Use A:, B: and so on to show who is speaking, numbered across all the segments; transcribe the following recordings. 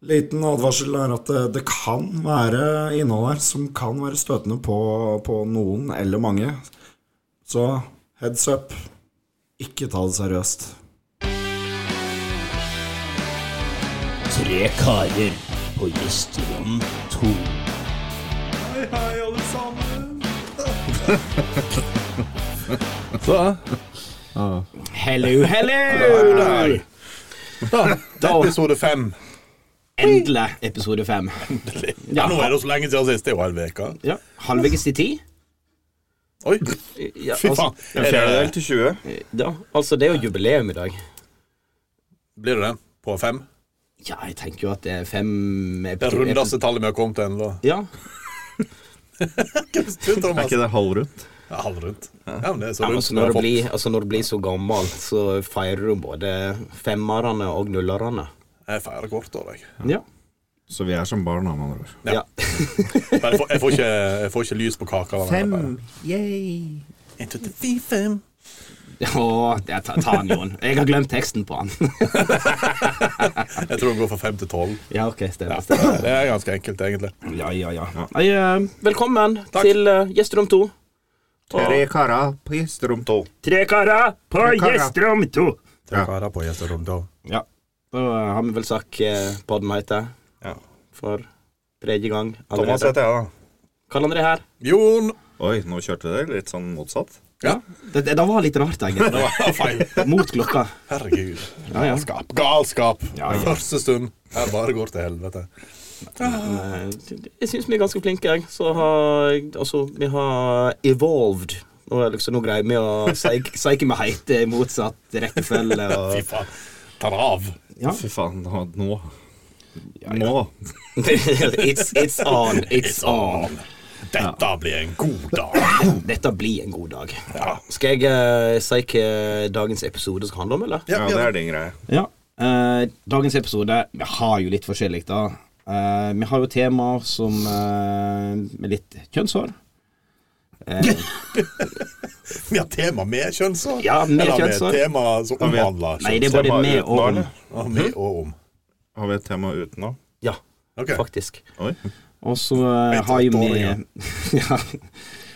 A: Liten advarsel er at eh, det, det kan være innhold her som kan være støtende på, på noen eller mange. Så heads up. Ikke ta det seriøst.
B: Tre karer på Gjesterom 2.
C: Så,
B: Hello, hello!
C: da er episode fem.
B: Endelig episode fem.
C: Ja, nå er det så lenge siden sist. Det er jo en uke.
B: Ja, Halvveis til ti.
C: Oi,
B: Ja, altså-
C: fy faen. Er det,
D: til 20.
B: Ja, altså, det er jo jubileum i dag.
C: blir det den på fem?
B: Ja, jeg tenker jo at det er fem
C: Det rundeste tallet vi har kommet til ennå.
B: Ja.
D: Er ikke det halvrundt?
C: Ja, halvrundt. Ja, men det er så
B: Ja,
C: rundt.
B: altså,
C: som vi har
B: når du
C: fått.
B: blir, altså, når du blir så gammel, så feirer du både femmerne og nullerne.
C: Jeg feirer kortår, jeg.
B: Ja.
D: Så vi er som barna, med andre ord.
B: ja.
C: Men jeg får, jeg får, ikke, jeg får ikke lys på kaka. av den her, bare.
D: Yay.
C: En, to, tre, fem.
B: Å, det ta, ta han, Jon. Jeg har glemt teksten på han.
C: Jeg tror den går fra fem til tolv.
B: Ja, ok, stemmer.
C: Det
B: stemmer.
C: er ganske enkelt, egentlig.
B: Ja, ja, ja. Nei, eh, velkommen til eh, Gjesterom 2.
D: Tre karer på gjesterom tolv.
B: Tre karer på
D: karer.
B: Gjesterom 2.
D: Ja.
C: Karer på gjesterom, da.
B: Ja. Da eh, har vi vel sagt eh, podden heter
D: Ja.
B: for tredje gang
D: Thomas
B: allerede.
D: heter jeg, da.
B: Karl André her.
C: Jon!
D: Oi, nå kjørte dere litt sånn motsatt.
C: Ja.
B: Det, det, det var litt rart, egentlig.
C: Det var feil.
B: Mot klokka.
C: Herregud.
B: Ja, ja.
C: Galskap. Galskap.
B: Ja, ja.
C: Første stund. Her bare går til helvete.
B: Eh, Jeg syns vi er ganske flinke, jeg. Så har Altså, vi har evolved. Nå, er det liksom, nå greier vi å si si hva vi heter i motsatt rekkefølge.
C: Fy
B: Og,
C: faen. Tar av.
B: ja.
D: Fy faen, nå Nå.
B: Ja, ja.
D: nå.
B: it's, it's on. It's on.
C: Dette blir en god dag.
B: Dette blir en god dag.
C: Ja.
B: Skal jeg eh, si hva dagens episode skal handle om, eller?
D: Ja, det er din greie.
B: Ja. eh, dagens episode Vi har jo litt forskjellig, da. Eh, vi har jo temaer som eh, med litt kjønnshår.
C: Vi har tema med kjønnshår.
B: Ja, med
C: Eller
B: kjønnshår.
C: Med tema som
D: vi-
C: omhandler
B: Nei, det er
D: Tema
B: både med
D: uten,
B: og om.
D: eller?
C: kjønnshår. Med og om.
D: Har vi et tema uten nå?
B: Ja,
C: Ok.
B: faktisk.
D: Oi.
B: Og så eh,
C: Vent,
B: har jo vi
C: åtteåringer.
B: ja,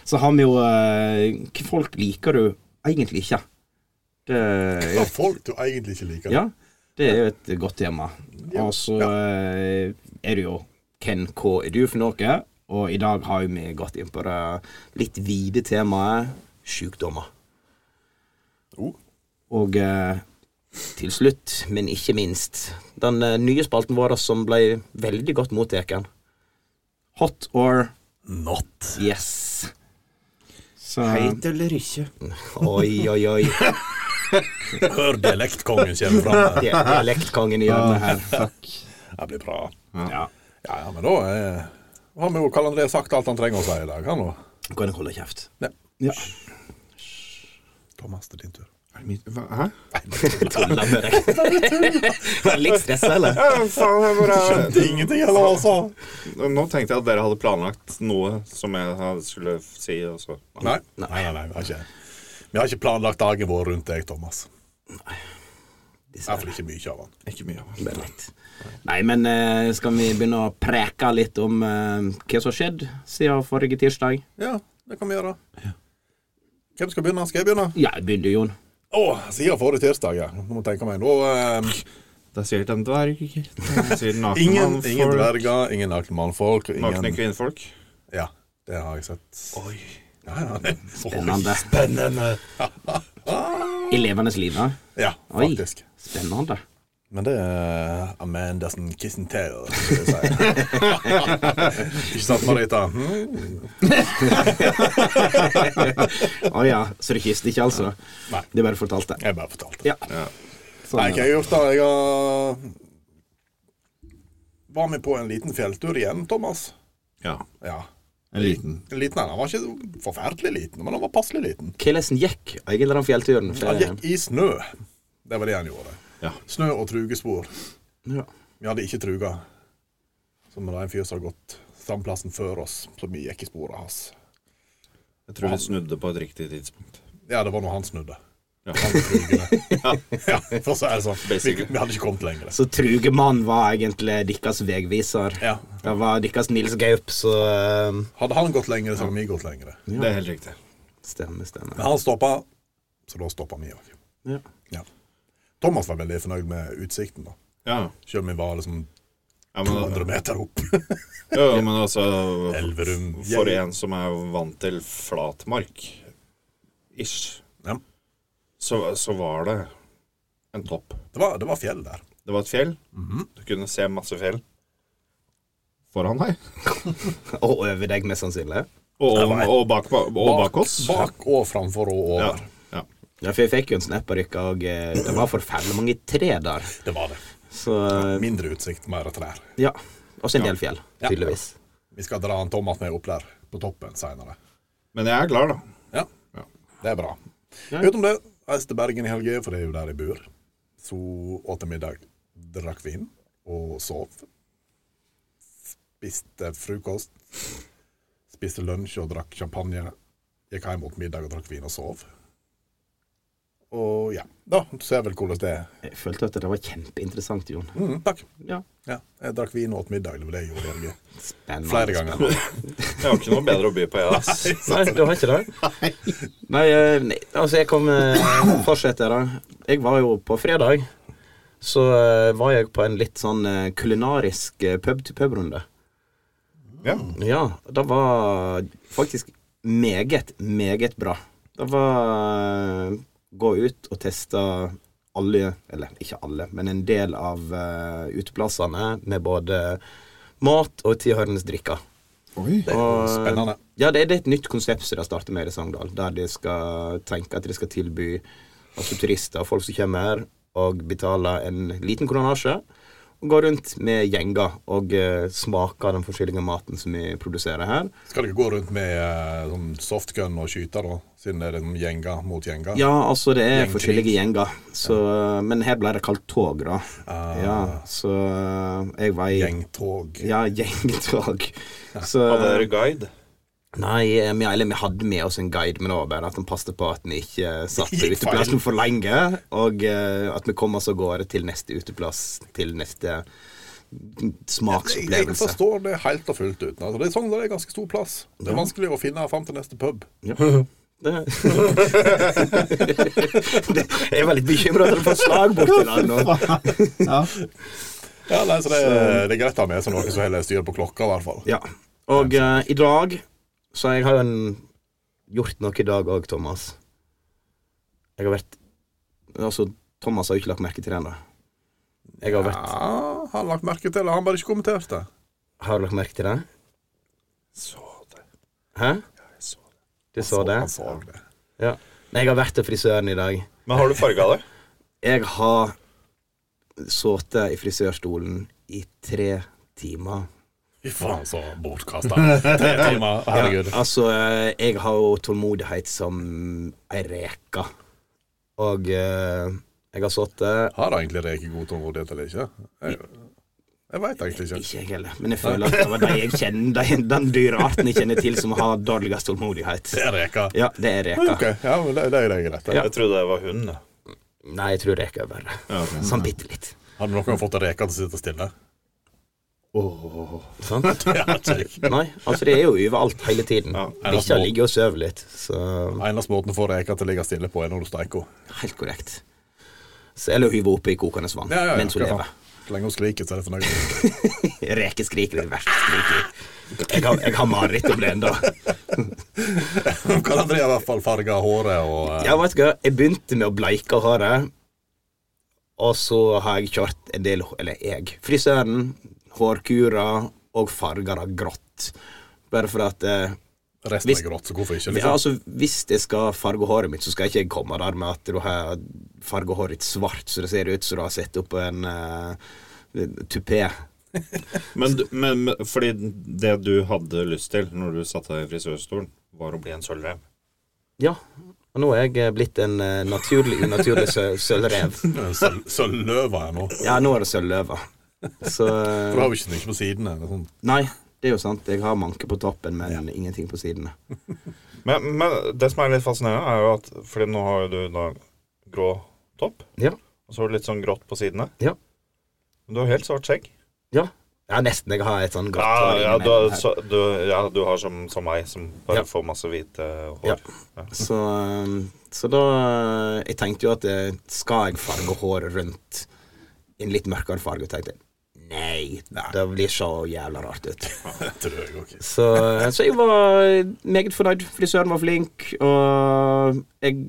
B: Så har vi jo eh, Hva folk liker du egentlig ikke? Det,
C: Det er folk du egentlig ikke liker.
B: ja, det er jo et godt tema. Og så eh, er det jo Hvem hva er du for noe? Og i dag har jo vi gått inn på det litt vide temaet sykdommer.
C: Oh.
B: Og eh, til slutt, men ikke minst, den eh, nye spalten vår som ble veldig godt mottatt. Hot or
C: Not.
B: Yes. Så
D: Heit eller ikke?
B: Oi, oi, oi.
C: Hør dialektkongen kommer fram.
B: Det er Dialektkongen i hjørnet her.
C: Det blir bra.
B: Ja.
C: Ja, ja, men da eh, har vi jo Karl André sagt alt han trenger å si i dag. Han nå.
B: Kan jeg holde kjeft?
C: Ja.
B: Ja.
C: Thomas, det er din tur.
D: Er det mitt- hva- Hæ?
B: Tulla med deg. Er du litt stressa, eller?
D: Ja, faen, jeg bare
C: Det er ingenting heller, altså.
D: Nå tenkte jeg at dere hadde planlagt noe som jeg hadde- skulle si, og så
C: Nei, nei, nei. nei, vi, har ikke, vi har ikke planlagt dagen vår rundt deg, Thomas.
B: Dessverre.
C: Iallfall ikke mye av han.
D: Ikke mye. av det.
B: Men litt. Nei, men eh, skal vi begynne å preke litt om eh, hva som har skjedd siden forrige tirsdag?
C: Ja, det kan vi gjøre. Hvem skal begynne? Skal jeg begynne?
B: Ja, jeg begynner, Jon.
C: Å, siden forrige tirsdag, ja. Nå må jeg tenke meg. Nå, eh,
D: Det er sikkert en dverg. Det er sikkert
C: ingen,
D: nakenmannfolk.
C: ingen dverger, ingen nakne mannfolk. og
D: Nakne
C: Ingen,
D: kvinnfolk.
C: ja, det har jeg sett. Oi. Ja, ja, det,
B: Spennende.
C: Oi, spennende.
B: I levende livet.
C: Ja,
B: Oi.
C: faktisk.
B: Spennende.
C: Men det er Amandesen Kissentail, skal jeg si. Ikke sant, Marita? Mm.
B: Å ja, så du kysset ikke, altså?
C: Nei.
B: Det bare fortalte.
C: Jeg bare fortalte.
B: Ja.
D: Ja.
C: Nei,
B: Sånn,
C: hva har jeg gjort da? Jeg har Var med på en liten fjelltur igjen, Thomas.
D: Ja.
C: Ja.
D: En liten.
C: En Liten en. Han var ikke forferdelig liten, men han var passelig liten.
B: Hvordan gikk egentlig den fjellturen?
C: Han gikk i snø. Det var det han gjorde.
D: Ja.
C: Snø og trugespor.
B: Ja.
C: Vi hadde ikke truga. Så det var en fyr som hadde gått samme plassen før oss, så vi gikk i sporet hans.
D: Jeg tror vi snudde på et riktig tidspunkt.
C: Ja, det var når han snudde.
D: Ja.
C: Trugene.
D: Ja.
C: Ja, for så er det sånn. Vi,
D: Basically.
C: vi hadde ikke kommet lenger.
B: Så Trugemann var egentlig deres vegviser.
C: Ja.
B: Det var deres Nils Gaup, så eh,
C: Hadde han gått lenger, så hadde vi gått lenger.
D: Det er helt riktig.
B: Stemmer, stemmer.
C: Men han stoppa, så da stoppa vi òg.
B: Ja.
C: Ja. Thomas var veldig fornøyd med utsikten, da.
D: Ja.
C: Selv om vi var liksom
D: ja, men,
C: 200 meter opp.
D: ja, ja, men altså
C: Elverum.
D: For en som er vant til flatmark, ish,
C: Ja.
D: så, så var det en topp.
C: Det var, det var fjell der.
D: Det var et fjell. Du kunne se masse fjell foran deg.
B: Og over deg, mest sannsynlig.
D: Og,
C: Det
D: og,
C: var-
D: og, bak, og bak oss.
C: Bak og framfor og
D: Ja.
C: over.
D: ja.
B: Ja, for jeg fikk jo en snap av dere, og eh, det var forferdelig mange tre der.
C: Det var det.
B: Så eh,
C: Mindre utsikt, mer trær.
B: ja. Også en del fjell,
C: Ja.
B: tydeligvis.
C: Vi skal dra en Thomas med opp der på toppen seinere.
D: Men jeg er glad, da.
C: Ja.
D: Ja.
C: Det er bra. Utenom det, reiste til Bergen i helga, for det er jo der jeg bor. Så åt jeg middag, drakk vin og sov. Spiste frokost. Spiste lunsj og drakk champagne. Gikk hjem mot middag og drakk vin og sov. Og ja, da ser jeg vel hvordan det er.
B: Jeg følte at det var kjempeinteressant, Jon.
C: Mm, takk.
B: Ja.
C: Ja, jeg drakk vin og åt middag. Det var det jeg gjorde i helga.
B: Spennende.
C: Flere ganger.
D: Jeg har ikke noe bedre å by på, jeg. altså. ass.
B: Nei, du har ikke det? Nei, eh, nei altså jeg kan eh, fortsette da. Jeg var jo på fredag, så eh, var jeg på en litt sånn eh, kulinarisk eh, pub-til-pub-runde.
D: Ja.
B: Ja, det var faktisk meget, meget bra. Det var eh, gå ut og teste alle, eller ikke alle, men en del av eh, uteplassene med både mat og tilhørende drikker.
A: Oi.
C: Det er jo spennende.
B: Ja, det, det er et nytt konsept som de starter med i Sogndal, der de skal tenke at de skal tilby altså turister, folk som kommer, og betaler en liten kronasje, og går rundt med gjenger og eh, smaker den forskjellige maten som vi produserer her.
C: Skal dere gå rundt med eh, sånn softgun og skyter, da? Siden det er liksom gjenger mot gjenger?
B: Ja, altså det er
C: Gjengkrig.
B: forskjellige gjenger, så, men her ble det kalt tog, da. Ja, så eh, jeg var i
C: Gjengtog.
B: Ja, gjengtog. Så
D: Hadde dere guide?
B: Nei, eh, vi, eller, vi hadde med oss en guide, men det var bare at han passet på at vi ikke eh, satt på
C: Gikk feil.
B: uteplassen for lenge, og eh, at vi kom oss av gårde til neste uteplass, til neste
C: Jeg, jeg
B: smaksopplevelse.
C: forstår det helt og fullt uten. Altså, det er sånn det er ganske stor plass. Det er vanskelig å finne fram til neste pub.
B: Ja. Det- Det- jeg var litt bekymra for at du får slag borti der nå.
A: Ja.
C: Ja, nei, så det, er- det er greit å ha med seg noen som heller styrer på klokka, i hvert fall.
B: Ja. Og eh, i dag Så jeg har jo en, gjort noe i dag òg, Thomas. Jeg har vært Altså, Thomas har jo ikke lagt merke til det ennå. Jeg har vært
C: Ja, han lagt merke til det, han bare ikke kommenterte.
B: Har du lagt merke til det?
D: Så det.
B: Hæ?
D: Jeg så det.
B: Du så det?
C: Han så det.
B: Ja. Nei, jeg har vært til frisøren i dag.
D: Men har du farga det?
B: Jeg har sittet i frisørstolen i tre timer.
C: Fy faen, så bortkasta. Tre timer, herregud.
B: Altså, eh, jeg har jo tålmodighet som ei reke. Og eh, jeg har sittet
C: Har egentlig Reke god tålmodighet eller ikke? Jeg, jeg veit egentlig ikke.
B: Ikke jeg heller, men jeg føler at det var de jeg kjenner, de, den dyrearten jeg kjenner til som har dårligst tålmodighet.
C: Det er Reka.
B: Ja, det er reka.
C: Ok, ja, men det, det er det greit.
B: Ja.
D: Jeg trodde det var hun. da.
B: Nei, jeg tror reka er verre. Sånn bitte litt.
C: Hadde noen gang fått en reke til å sitte stille?
B: Sant?
C: Ja, check.
B: Nei, altså det er jo overalt hele tiden.
D: Ja.
B: Bikkja ligger og sover litt, så
C: Eneste måten å få reka til å ligge stille på, er når du steiker henne.
B: Helt korrekt. Så, eller hyve oppi kokende vann mens hun
C: hva
B: lever.
C: faen. Så lenge hun skriker, så er det fornøyd.
B: Rekeskrik er det verste skriket. Jeg har, jeg har mareritt om det ennå.
C: Hun kan Andrea i hvert fall farge håret og eh,
B: Ja, vet du hva? Jeg begynte med å bleike håret, og så har jeg kjørt en del Eller jeg. Frisøren, hårkura og farger av grått. Bare for at eh,
C: resten
B: Hvis-
C: er grått, så hvorfor ikke?
B: ja,
C: Liksom?
B: altså, Hvis jeg skal farge håret mitt, så skal ikke jeg komme der med at du har farga håret ditt svart, så det ser ut som du har satt opp en uh, tupé.
D: Men, du- men, men fordi det du hadde lyst til når du satte deg i frisørstolen, var å bli en sølvrev.
B: Ja, og nå er jeg blitt en eh, naturlig unaturlig sø- sølvrev.
C: Søl- Sølvløva er nå.
B: Ja, nå er det sølvløva. Så
C: For du har jo ikke så mye på sidene. det er Sånn.
B: Nei, det er jo sant. Jeg har manke på toppen, men ingenting på sidene.
D: Men, men det som er litt fascinerende, er jo at Fordi nå har jo du da grå topp.
B: Ja.
D: Og så har du litt sånn grått på sidene.
B: Ja.
D: Men du har helt svart skjegg.
B: Ja. ja, nesten. Jeg har et sånn grått
D: Ja,
B: hår
D: Ah, ja, du,
B: innimellom
D: har-
B: her.
D: så, du, ja du har som, som meg, som
B: Ja.
D: bare får masse hvite
B: Ja.
D: hår. Ja.
B: Så, um, så da Jeg tenkte jo at eh, skal jeg farge håret rundt i en litt mørkere farge? Tenkte jeg nei, det blir så jævla rart ut.
C: Det tror jeg òg.
B: Så, eh, så jeg var eh, meget fornøyd. Frisøren var flink, og jeg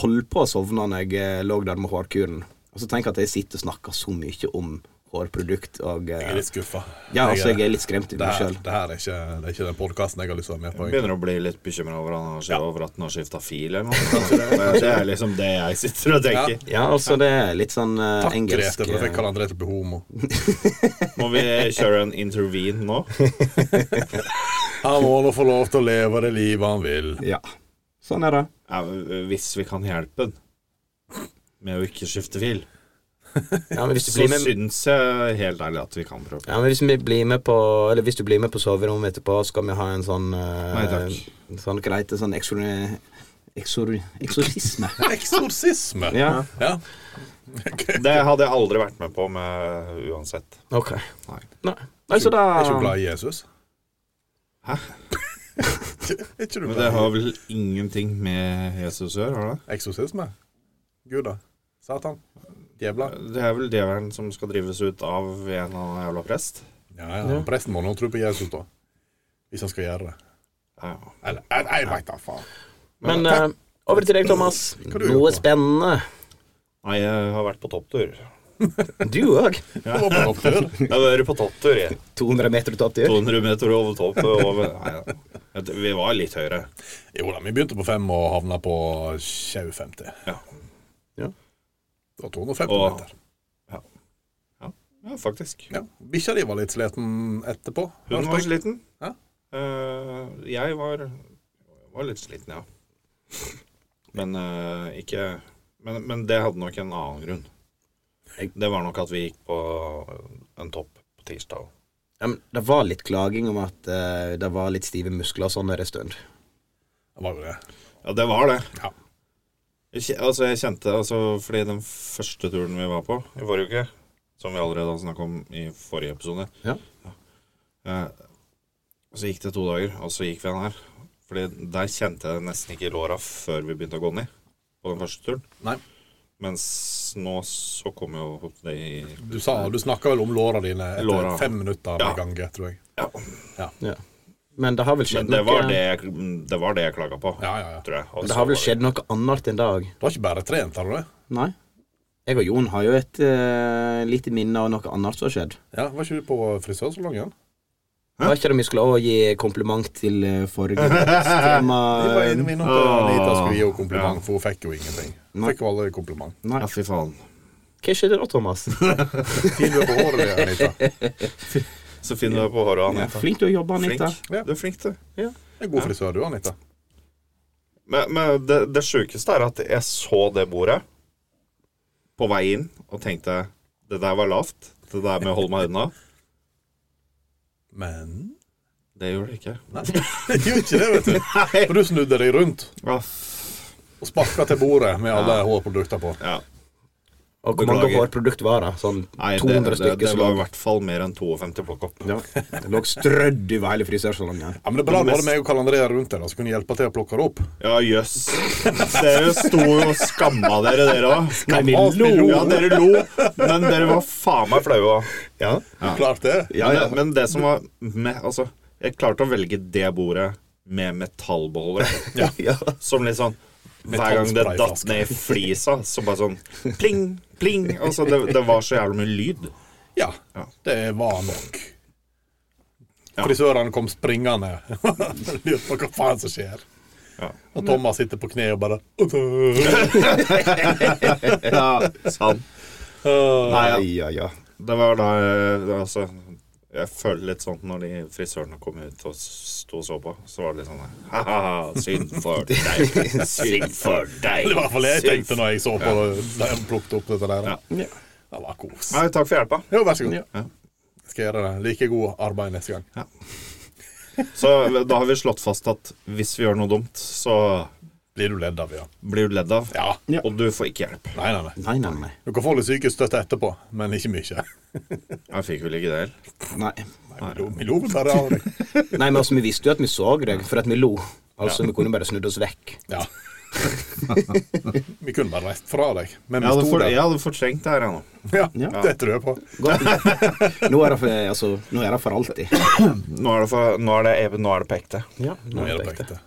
B: holdt på å sovne når jeg eh, lå der med hårkuren. Og så tenker jeg at jeg sitter og snakker så mye om hårprodukt og eh,
C: Jeg er litt skuffa.
B: Ja, altså, jeg er litt skremt i
C: det,
B: meg
C: her,
B: sjøl.
C: det her er ikke, det er ikke den podkasten jeg har lyst til å være med på. egentlig.
D: Begynner å bli litt bekymra over, han har skje- over at han har skifta fil eller noe. Det er liksom det jeg sitter og tenker.
B: Ja, altså, det er litt sånn eh,
C: Takk,
B: engelsk
C: Grete, for jeg fikk
B: eh,
C: Karl André til å bli homo.
D: Må vi kjøre en intervene nå?
C: Han må nå få lov til å leve det livet han vil.
B: Ja. Sånn er det.
D: Ja, hvis vi kan hjelpe den med å ikke skifte fil,
B: Ja, men hvis du
D: så
B: blir med
D: syns jeg helt ærlig at vi kan prøve.
B: ja, men hvis, vi blir med på, eller hvis du blir med på soverommet etterpå, skal vi ha en sånn eh,
D: Nei, takk.
B: en Sånn greit, en sånn eksor... Eksor... Eksorsisme.
C: Eksorsisme!
B: Ja,
C: Ja.
D: Det hadde jeg aldri vært med på med uansett.
B: ok.
D: Nei.
B: Nei, Nei så da
C: Er ikke du glad i Jesus?
D: Hæ?
C: er ikke du
D: Men det
C: glad
D: har vel ingenting med Jesus å gjøre? har det?
C: i eksorsisme? Gud, da. Satan. Djevla.
D: Det er vel djevelen som skal drives ut av en eller annen jævla prest?
C: Ja, ja. men Presten må nå tro på Jesus, da. Hvis han skal gjøre det.
D: Ja, ja.
C: Eller jeg, jeg veit da faen.
B: Men eh, over til deg, Thomas.
C: Hva du
B: Noe
C: gjør på?
B: spennende.
D: Nei, jeg har vært på topptur.
B: Du òg.
C: Det var bare opptur.
D: Jeg har vært på topptur i
B: 200 meter ut av tur.
D: 200 meter over toppen. Over. Nei, ja. Jeg tror Vi var litt høyere.
C: Jo da, vi begynte på fem og havna på sjau 50.
D: Ja.
C: Det var 250
D: Åh.
C: meter.
D: Ja, ja. ja faktisk.
C: Ja. Bikkja di var litt sliten etterpå.
D: Hun
C: hørte
D: var
C: jeg.
D: sliten.
C: Hæ?
D: Eh, jeg var, var litt sliten, ja. Men eh, ikke men, men det hadde nok en annen grunn. Det var nok at vi gikk på en topp på tirsdag.
B: Ja, men det var litt klaging om at eh, det var litt stive muskler og sånn der en stund.
C: Det var jo det.
D: Ja, det var det.
C: Ja.
D: Jeg, kje- altså, jeg kjente altså, Fordi den første turen vi var på i forrige uke, som vi allerede har snakket om i forrige episode
B: Ja.
D: eh, Så gikk det to dager, og så gikk vi den her. Fordi der kjente jeg nesten ikke låra før vi begynte å gå ned på den første turen.
C: Nei,
D: Mens nå så kom jo det i
C: du sa Du snakka vel om låra dine etter
D: Låra.
C: fem minutter
D: Ja.
C: med gange, tror jeg.
D: Ja.
B: Ja. Men det har vel
D: Men
B: skjedd
D: det
B: noe
D: var det, jeg- det, var det jeg klaga på,
C: Ja, ja, ja.
D: tror jeg. Og
B: Men
D: så
B: det har
D: var
B: vel skjedd noe annet enn det òg.
C: Du har ikke bare trent, har du det?
B: Nei. Jeg og Jon har jo et eh, lite minne av noe annet som har skjedd.
C: Ja, Var ikke du på frisørsalongen?
B: Var ikke det vi skulle også gi kompliment til eh, forrige tema?
C: Vi var inne med at
D: Åh.
C: Anita skulle gi henne kompliment,
D: Ja.
C: for hun fikk jo ingenting. Hun
B: Nei.
C: fikk jo aldri kompliment.
B: Nei.
D: Ja, fy faen.
B: Hva skjedde da, Thomas?
C: Fin du er på håret, det, Anita.
D: Så fin du er på håret, Anita.
B: Flink til å jobbe, Anita.
D: Flink. Du er flink, du.
C: En god frisør, du, Anita.
D: Men, men det, det sjukeste er at jeg så det bordet på vei inn og tenkte Det der var lavt. Det der med å holde meg unna.
C: Men
D: Det gjorde det ikke.
C: Nei, det gjorde ikke det, vet du. For du snudde deg rundt
D: Ja.
C: og sparka til bordet med alle hårprodukter på.
D: ja.
B: Og hvor mange
D: Beklager.
B: hårprodukt var det? Sånn
D: Nei, det,
B: 200
D: det, det,
B: stykker som
D: var i
B: lå
D: hvert fall mer enn 52 plukk opp.
B: ja. Det lå strødd over hele frisørsalongen.
C: Ja, men det er bra du hadde meg og Karl André rundt deg, da, så kunne jeg hjelpe til å plukke det opp.
D: Ja, jøss. Dere sto jo og skamma dere, dere òg.
B: Nei, vi
C: lo.
D: Ja, dere lo. Men dere var faen meg flaue òg.
B: Ja.
C: Klart det?
D: Ja, ja. Men det som var med Altså, jeg klarte å velge det bordet med metallbeholder.
B: ja.
D: Som litt sånn Hver gang det datt
C: Metallsprayflaske.
D: ned i flisa, så bare sånn pling, pling. Altså, det, det var så jævlig mye lyd.
C: Ja.
D: Ja.
C: Det var nok.
D: Ja.
C: Frisørene kom springende. Lurte på hva faen som skjer.
D: Ja.
C: Og Thomas sitter på kne og bare
D: Ja, sant.
C: Øh,
D: Nei, ja.
B: ja, ja.
D: Det var da eh, Altså, jeg føler litt sånn når de frisørene kom ut og sto og så på, så var det litt sånn Ha-ha, synd for deg. Synd for deg.
C: Det var i hvert fall det jeg
D: synd
C: tenkte når jeg så på da jeg plukket opp dette der.
D: Ja.
B: Ja.
C: Det var kos.
D: Nei, takk for hjelpa.
C: Jo, vær så god.
D: Ja.
C: Skal jeg gjøre det. Like god arbeid neste gang.
D: Så da har vi slått fast at hvis vi gjør noe dumt, så
C: blir du ledd av, ja.
D: Blir du ledd av,
C: Ja.
B: Ja.
D: og du får ikke hjelp.
C: Nei, nei, nei.
B: Nei, nei, nei.
C: Du kan få litt sykehusstøtte etterpå, men ikke mye.
D: Jeg fikk vel ikke det heller.
B: nei.
C: Nei, vi lo- vi lo vel bare av deg.
B: Nei, men altså, vi visste jo at vi så deg, for at vi lo. Altså, vi kunne bare snudd oss vekk.
C: Ja. Vi kunne bare reist fra deg, men
D: Jeg
C: vi
D: hadde,
C: sto
D: for,
C: der.
D: jeg hadde fortrengt det her, jeg nå.
C: Ja,
B: Ja.
C: det tror jeg på.
B: Godt. Nå er det for, altså, nå er det for alltid.
D: Nå er det, for, nå er det, ev- nå er det på ekte.
B: Ja,
C: Nå er det på ekte.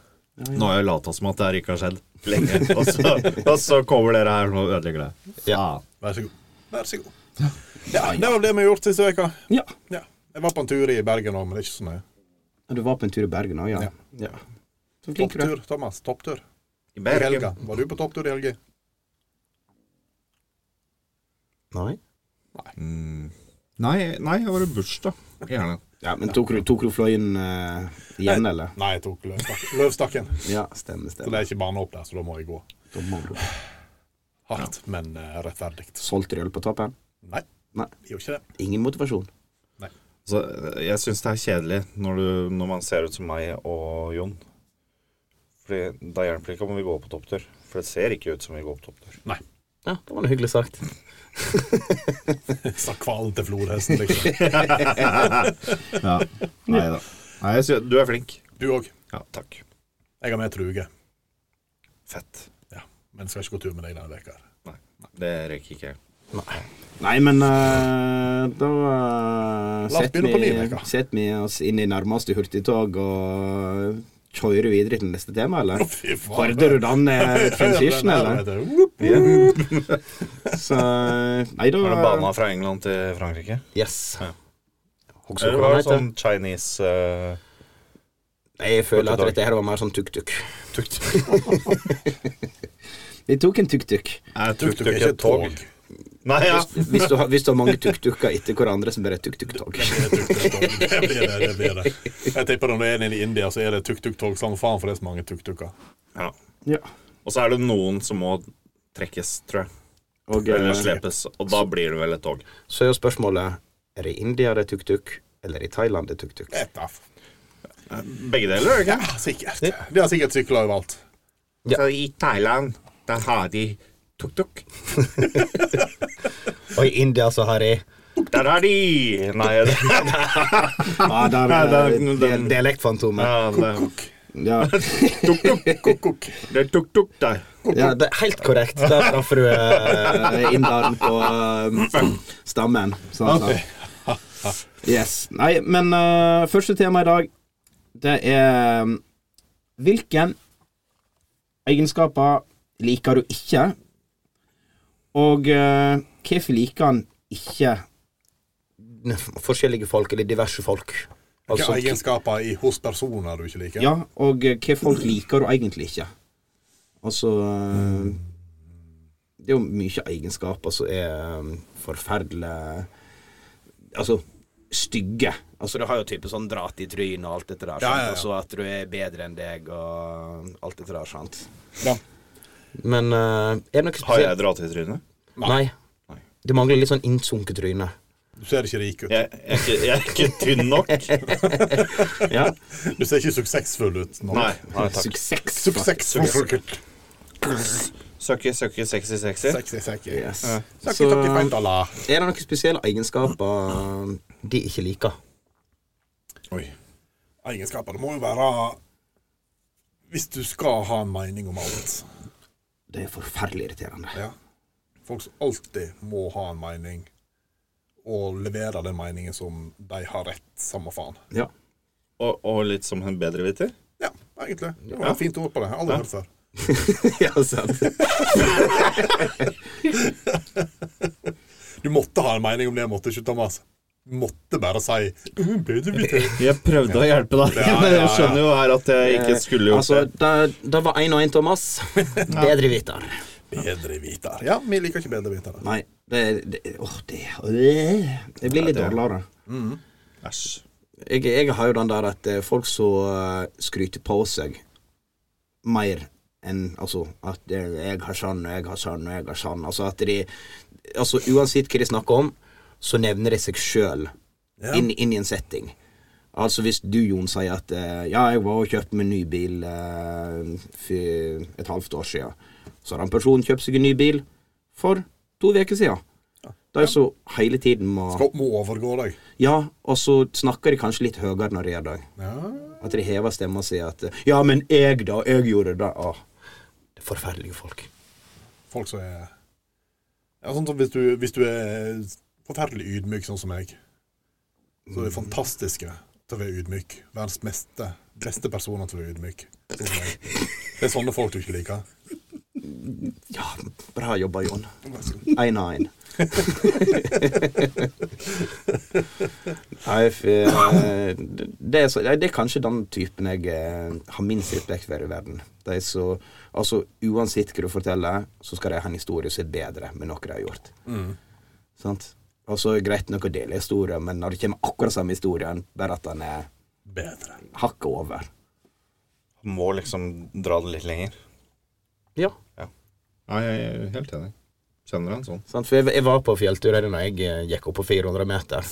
D: Nå har jeg lata som at det her ikke har skjedd lenge, og så, og så kommer dere her og ødelegger det.
B: Ja.
C: Vær så god. Vær så god. Ja, det var det vi har gjort siste uka.
B: ja.
C: Ja. Jeg var på en tur i Bergen òg, men det er ikke så nøye.
B: Du var på en tur i Bergen òg, ja.
C: Ja.
B: ja. Så flink du er.
C: Topptur, Thomas. Topptur.
D: I
C: I
D: Bergen.
C: helga. Var du på topptur i helga?
B: Nei.
D: Nei, nei, jeg var i bursdag. Gjerne.
B: Ja, men tok du, tok du fløyen eh, igjen, eller?
C: Nei, jeg tok løvstak- løvstakken.
B: Ja, stemmer,
C: Så det
B: stemmer.
C: er ikke bane opp der, så da må jeg gå.
B: Da må du
C: Hardt, men eh, rettferdig.
B: Solgte du øl på toppen?
C: Nei,
B: Nei.
C: det gjorde ikke det.
B: Ingen motivasjon.
D: Så eh, jeg syns det er kjedelig når, du, når man ser ut som meg og Jon. Fordi Da hjelper det ikke om vi går på topptur. For det ser ikke ut som vi går på topptur.
C: Nei.
B: Ja, det var noe hyggelig sagt.
C: Sa kvalen til flodhesten, liksom.
D: Ja. Nei da. Nei, jeg synes, du er flink.
C: Du òg.
D: Ja, takk.
C: Jeg har med truge.
D: Fett.
C: Ja. Men skal ikke gå tur med deg denne uka. her.
D: Nei, det rekker ikke jeg.
B: Nei. Nei, men eh, da uh,
C: oss begynne på ny uke.
B: setter vi oss inn i nærmeste hurtigtog og kjører videre til neste tema, eller?
C: Å, Fy
B: Hørte du den eh, transition, eller? Så eh, Nei, da
D: Har du eh, bana fra England til Frankrike?
B: Yes.
D: Ja.
B: Husker
D: Eller
B: du hva den
D: var det
B: heter?
D: sånn Chinese eh,
B: Nei, Jeg føler at
D: Hurtigtog.
B: dette her var mer sånn tuk-tuk. Vi tok en tuk-tuk.
D: Er
C: Tuk-tuk er ikke et tog.
D: Nei, ja.
B: Hvis du, har- hvis du har mange tuk-tuker etter hverandre, så blir det tuk-tuk-tog.
C: Det blir det, det blir det. Jeg tipper når du er nede i India, så er det tuk-tuk-tog. Samme faen, for det er så mange tuk-tuker.
D: ja.
B: Ja.
D: Og så er det noen som må trekkes, tror jeg.
B: Og
D: Eller
B: eh,
D: slepes. Og da blir det vel et tog.
B: så er jo spørsmålet Er det i India det er tuk-tuk, eller i Thailand det er tuk-tuk?
C: Vet da.
D: Begge deler,
C: Ja, sikkert. De har sikkert sykler overalt.
B: Ja.
D: Så i Thailand, der har de tuk-tuk.
B: Og i India så har de
D: Der har de Nei, det,
B: Ja, der
D: Nei,
B: er
D: den- den-
B: dialektfantomet.
D: ja, det,
B: Ja.
C: Kukk-kukk.
D: det er tuk-tuk der.
B: ja, det er helt korrekt. Der traff du eh, inderen på eh, stammen. Sånn, sånn. Yes. Nei, men eh, første tema i dag, det er mm, Hvilken egenskaper liker du ikke, og eh, hvorfor liker han ikke Forskjellige folk, eller diverse folk.
C: Hvilke egenskaper i, hos personer du ikke liker?
B: Altså, Ja, og eh, hva folk liker og egentlig ikke. Altså eh, Det er jo mye egenskaper som er eh, forferdelig Altså stygge. Altså Du har jo type sånn drat i trynet og alt dette der.
C: Ja,
B: sant?
C: ja, ja.
B: Altså at du er bedre enn deg og alt dette der, sant.
C: Ja.
B: Men eh, er det noe
D: Har
B: spesielt
D: jeg dratt i trynet?
B: Nei.
D: Nei.
B: Det mangler litt sånn innsunket tryne.
C: Du ser ikke rik ut.
D: Jeg, jeg, er ikke- jeg er ikke tynn nok.
B: Ja.
C: Du ser ikke suksessfull ut. nå.
D: Nei, nei takk.
B: Suksess.
C: Suksessfull.
D: Søkke, søkke, sexy, sexy.
C: Sexy, sexy.
B: Yes.
C: Sexy,
B: Så-
C: sexy, fine dollar.
B: Er det noen spesielle egenskaper de ikke liker?
C: Oi. Egenskaper. Det må jo være Hvis du skal ha en mening om alt
B: Det er forferdelig irriterende.
C: ja. Folk som alltid må ha en mening, og levere den meningen som de har rett, samme faen.
B: Ja.
D: Og, og litt som en bedreviter.
C: Ja, egentlig. Det var et fint ord på det. Jeg har Aldri hørt før.
B: ja, sant.
C: Du måtte ha en mening om det, måtte ikke Thomas? Du måtte bare si «Mm, bedre vite.
D: Jeg prøvde å hjelpe deg,
C: Ja,
D: men
C: ja, ja.
D: jeg skjønner jo her at jeg ikke skulle gjort
B: altså,
D: det.
B: det. Det var én og én, Thomas. Bedre viter.
C: Bedre viter. Ja, vi liker ikke bedre viter.
B: Nei, det, det, åh, det, øh, det blir litt
D: Ja, det-
B: dårligere.
D: Mm. Æsj.
B: Jeg, jeg har jo den der at eh, folk som eh, skryter på seg mer enn Altså at eh, 'jeg har sånn, og jeg har sånn, og jeg har sånn'. Altså at de Altså uansett hva de snakker om, så nevner de seg sjøl
C: Ja.
B: inn, inn i en setting. Altså hvis du, Jon, sier at eh, ja, jeg var og kjøpte meg en ny bil eh, for et halvt år siden, så har den personen kjøpt seg en ny bil for to uker siden. De som hele tiden må
C: Skal må overgå deg.
B: Ja, og så snakker de kanskje litt høyere når de gjør det.
C: Ja.
B: At de hever stemma si at eh, Ja, men jeg, da. Jeg gjorde det. Åh, det er forferdelige folk.
C: Folk som er ja, sånn som hvis du, hvis du er forferdelig ydmyk, sånn som meg, så er det fantastiske til å være ydmyk. Verdens meste, beste personer til å være ydmyk. Sånn som meg. Det er sånne folk du ikke liker.
B: Ja, bra jobba, Jon. Én av én. Nei, for, eh, det, er så, det er kanskje den typen jeg eh, har minst respekt for i verden. De som- altså, uansett hva du forteller, så skal de ha en historie som er bedre med noe de har gjort. Sant? Altså, Greit nok å dele historier, men når det kommer akkurat samme historien, bare at den er
C: Bedre.
B: hakket over.
D: Må liksom dra det litt lenger.
B: Ja.
D: Nei, jeg er helt enig. Kjenner en sånn.
B: Sant? For jeg, jeg var på fjelltur her da jeg eh, gikk opp på 400 meter.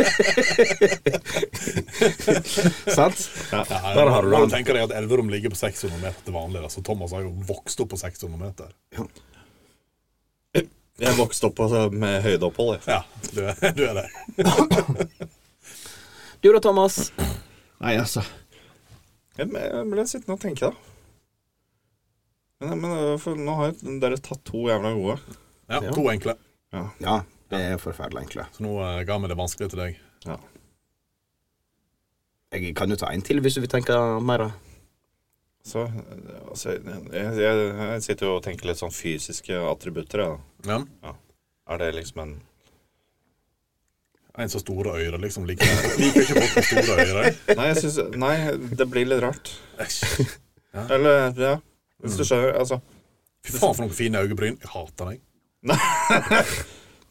B: Sant? Der har du
C: Når
B: den.
C: du tenker deg at Elverum ligger på 600 meter til vanlig, da, så Thomas har jo vokst opp på 600 meter.
D: Jeg vokste opp altså, med høydeopphold, jeg.
C: Ja, du er, du er det.
B: Du da, Thomas?
D: Nei, altså. Jeg ble- jeg ble sittende og tenke, da. Men, men eh, for nå har jo dere tatt to jævla gode.
C: Ja, To enkle.
B: Ja, det er forferdelig enkle.
C: Så nå eh, ga vi det vanskelig til deg.
D: Ja.
B: Jeg kan jo ta en til hvis du vil tenke mer. da.
D: Så eh, altså, jeg, jeg, jeg sitter jo og tenker litt sånn fysiske attributter, jeg, da.
C: Ja.
D: Er det liksom en
C: En så store øyre, liksom. Liker, liker ikke folk med store øyre.
D: Nei, jeg synes, nei, det blir litt rart.
C: Æsj.
D: Eller, ja. Hvis du skjønner, altså.
C: Fy faen, for noen fine øyebryn. Jeg hater deg.
D: Nei,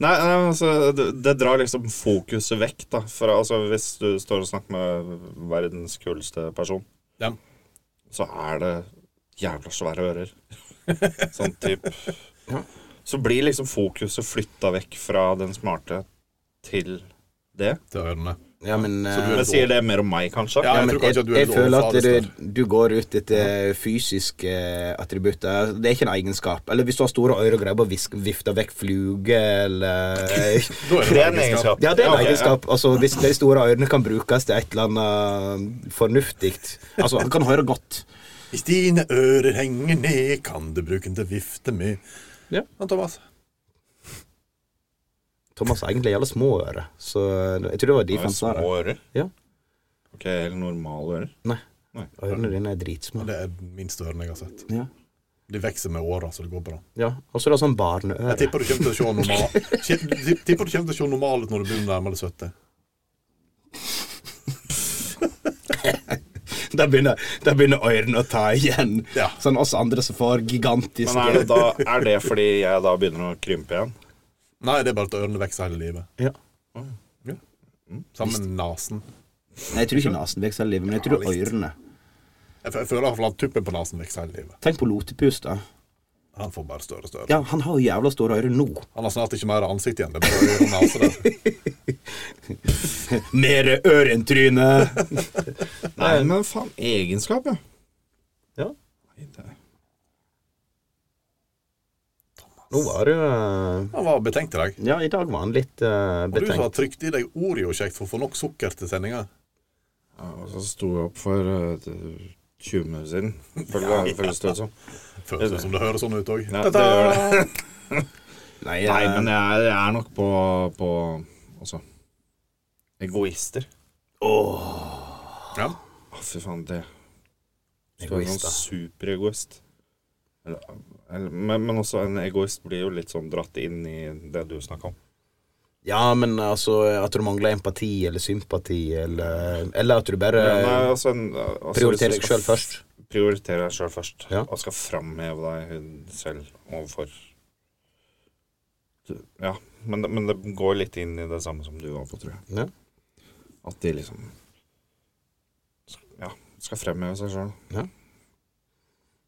D: nei men altså, det, det drar liksom fokuset vekk, da. For altså, hvis du står og snakker med verdens kuleste person,
C: Ja.
D: så er det jævla svære ører. Sånn type. Så blir liksom fokuset flytta vekk fra den smarte til det.
C: Til ørene.
B: Ja, men, eh,
C: du er-
D: Men sier det mer om meg, kanskje?
C: Ja,
B: ja,
C: jeg
B: men
C: tror kanskje
B: jeg,
C: at du er
B: jeg
C: litt
B: føler at
C: overfladisk
B: du, du går ut etter fysiske eh, attributter. Det er ikke en egenskap. Eller hvis du har store ører og greier bare å visk- vifte vekk fluge eller
C: Da er det en egenskap.
B: Ja, det er en
D: ok,
B: egenskap. Altså, hvis de store ørene kan brukes til et eller annet uh, fornuftig Altså, han kan høre godt.
C: Hvis dine ører henger ned, kan du bruke den til å vifte med.
B: Ja.
C: Men Thomas,
B: Thomas har egentlig jævla små ører, så eh, jeg tror det var de
D: Ja,
B: fant
D: små
B: svaret.
D: ører.
B: Ja.
D: Ok, eller normale ører.
B: Nei.
D: Nei.
B: Ørene dine er dritsmå.
C: det er minst ørene jeg har sett.
B: Ja.
C: De vokser med åra, så det går bra.
B: ja. Og så er det sånn
C: Jeg
B: barneøre.
C: tipper du kommer til å se normal Tipp- Tipper du kommer til å se normal ut når du begynner nærmere 70.
B: Da begynner, da begynner ørene å ta igjen.
C: Ja.
B: Sånn oss andre som får gigantiske
D: Men er det, da, er det fordi jeg da begynner å krympe igjen?
C: Nei, det er bare at ørene vokser hele livet.
B: ja.
C: Sammen med nesen.
B: Nei, jeg tror ikke nesen vokser hele livet, men jeg tror ørene.
C: Jeg, f- jeg føler i hvert fall at tuppen på nesen vokser hele livet.
B: Tenk på Lotepus, da.
C: Han får bare større og større.
B: Ja, han har jo jævla store ører nå.
C: Han har snart ikke mer ansikt igjen. Det er bare øre og nese der.
B: Mere øre enn tryne.
D: Nei, men faen, egenskap, ja.
B: Ja.
D: Nei, det-
B: Nå var det jo eh,
C: Han var betenkt i dag.
B: Ja, i dag var han litt eh,
C: Og du som
B: betenkt.
C: har trykt i deg Oreo-kjekt for å få nok sukker til sendinga.
D: Ja, og så sto jeg opp for eh, t- 20 minutter siden. Føler det- Føles det ut som.
C: Føles det som det høres sånn ut òg.
D: Ja, det gjør
B: Nei,
D: Nei,
B: eh,
D: men jeg er, jeg er nok på, på Altså Egoister.
C: Ja.
D: Å, fy faen, det Skal være
B: Egoist,
D: noen
B: da.
D: superegoist. Eller, eller, men, men også en egoist blir jo litt sånn dratt inn i det du snakka om.
B: Ja, men altså At du mangler empati eller sympati, eller, eller at du bare
D: Men, nei, altså, en- altså,
B: Eh, prioriterer deg
D: hvis du skal
B: sjøl først.
D: prioritere deg sjøl først,
B: Ja.
D: og skal framheve deg selv overfor Du- Ja, men, det- men det går litt inn i det samme som du var på, tror jeg.
B: Ja.
D: At de liksom Ja, skal fremheve seg sjøl.
B: Ja.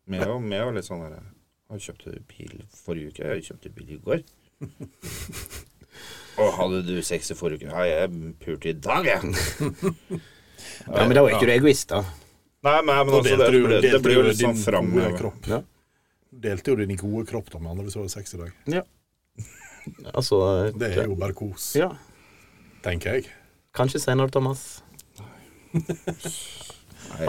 D: Med og med og litt sånn derre Jeg kjøpte bil forrige uke, jeg kjøpte bil i går. Å, hadde du sex i forrige uke? Ja, jeg pulte i dag, jeg.
B: Ja, men da er ikke du egoist, da.
D: Nei, men, men
C: Da
D: altså, det,
C: delte du-
D: det, det
C: delte
D: blir jo
C: du
D: litt sånn
C: din gode
D: framover.
C: kropp. Delte jo din gode kropp da med andre hvis du hadde sex i dag.
B: Altså
C: Det er jo bare kos,
B: Ja.
C: tenker jeg.
B: Kanskje senere, Thomas.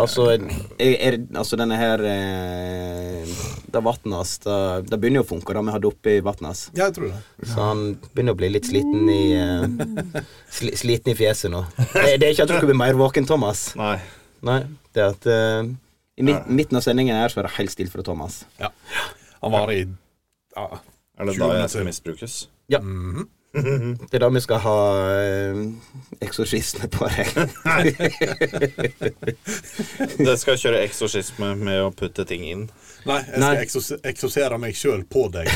B: Altså, er, er, altså denne her eh, Det vannet hans Det det begynner jo å funke, da. Vi hadde oppi vannet hans.
C: Ja, jeg tror det.
B: Så han begynner å bli litt sliten i eh, sli, Sliten i fjeset nå. Det, det er ikke at du skal bli mer våken, Thomas.
D: Nei.
B: Nei, det er at eh, I mid, midten av sendingen her så er det helt stille fra Thomas.
C: Ja. Han var i ja. Mhm.
D: Er det
C: 20
D: da jeg
C: minutter.
D: skal misbrukes?
B: Ja. Det er da vi skal ha eh, eksorsisme på deg.
D: Det skal jeg kjøre eksorsisme med å putte ting inn.
C: Nei, jeg skal
B: Nei.
C: eksos- eksosere meg sjøl på deg.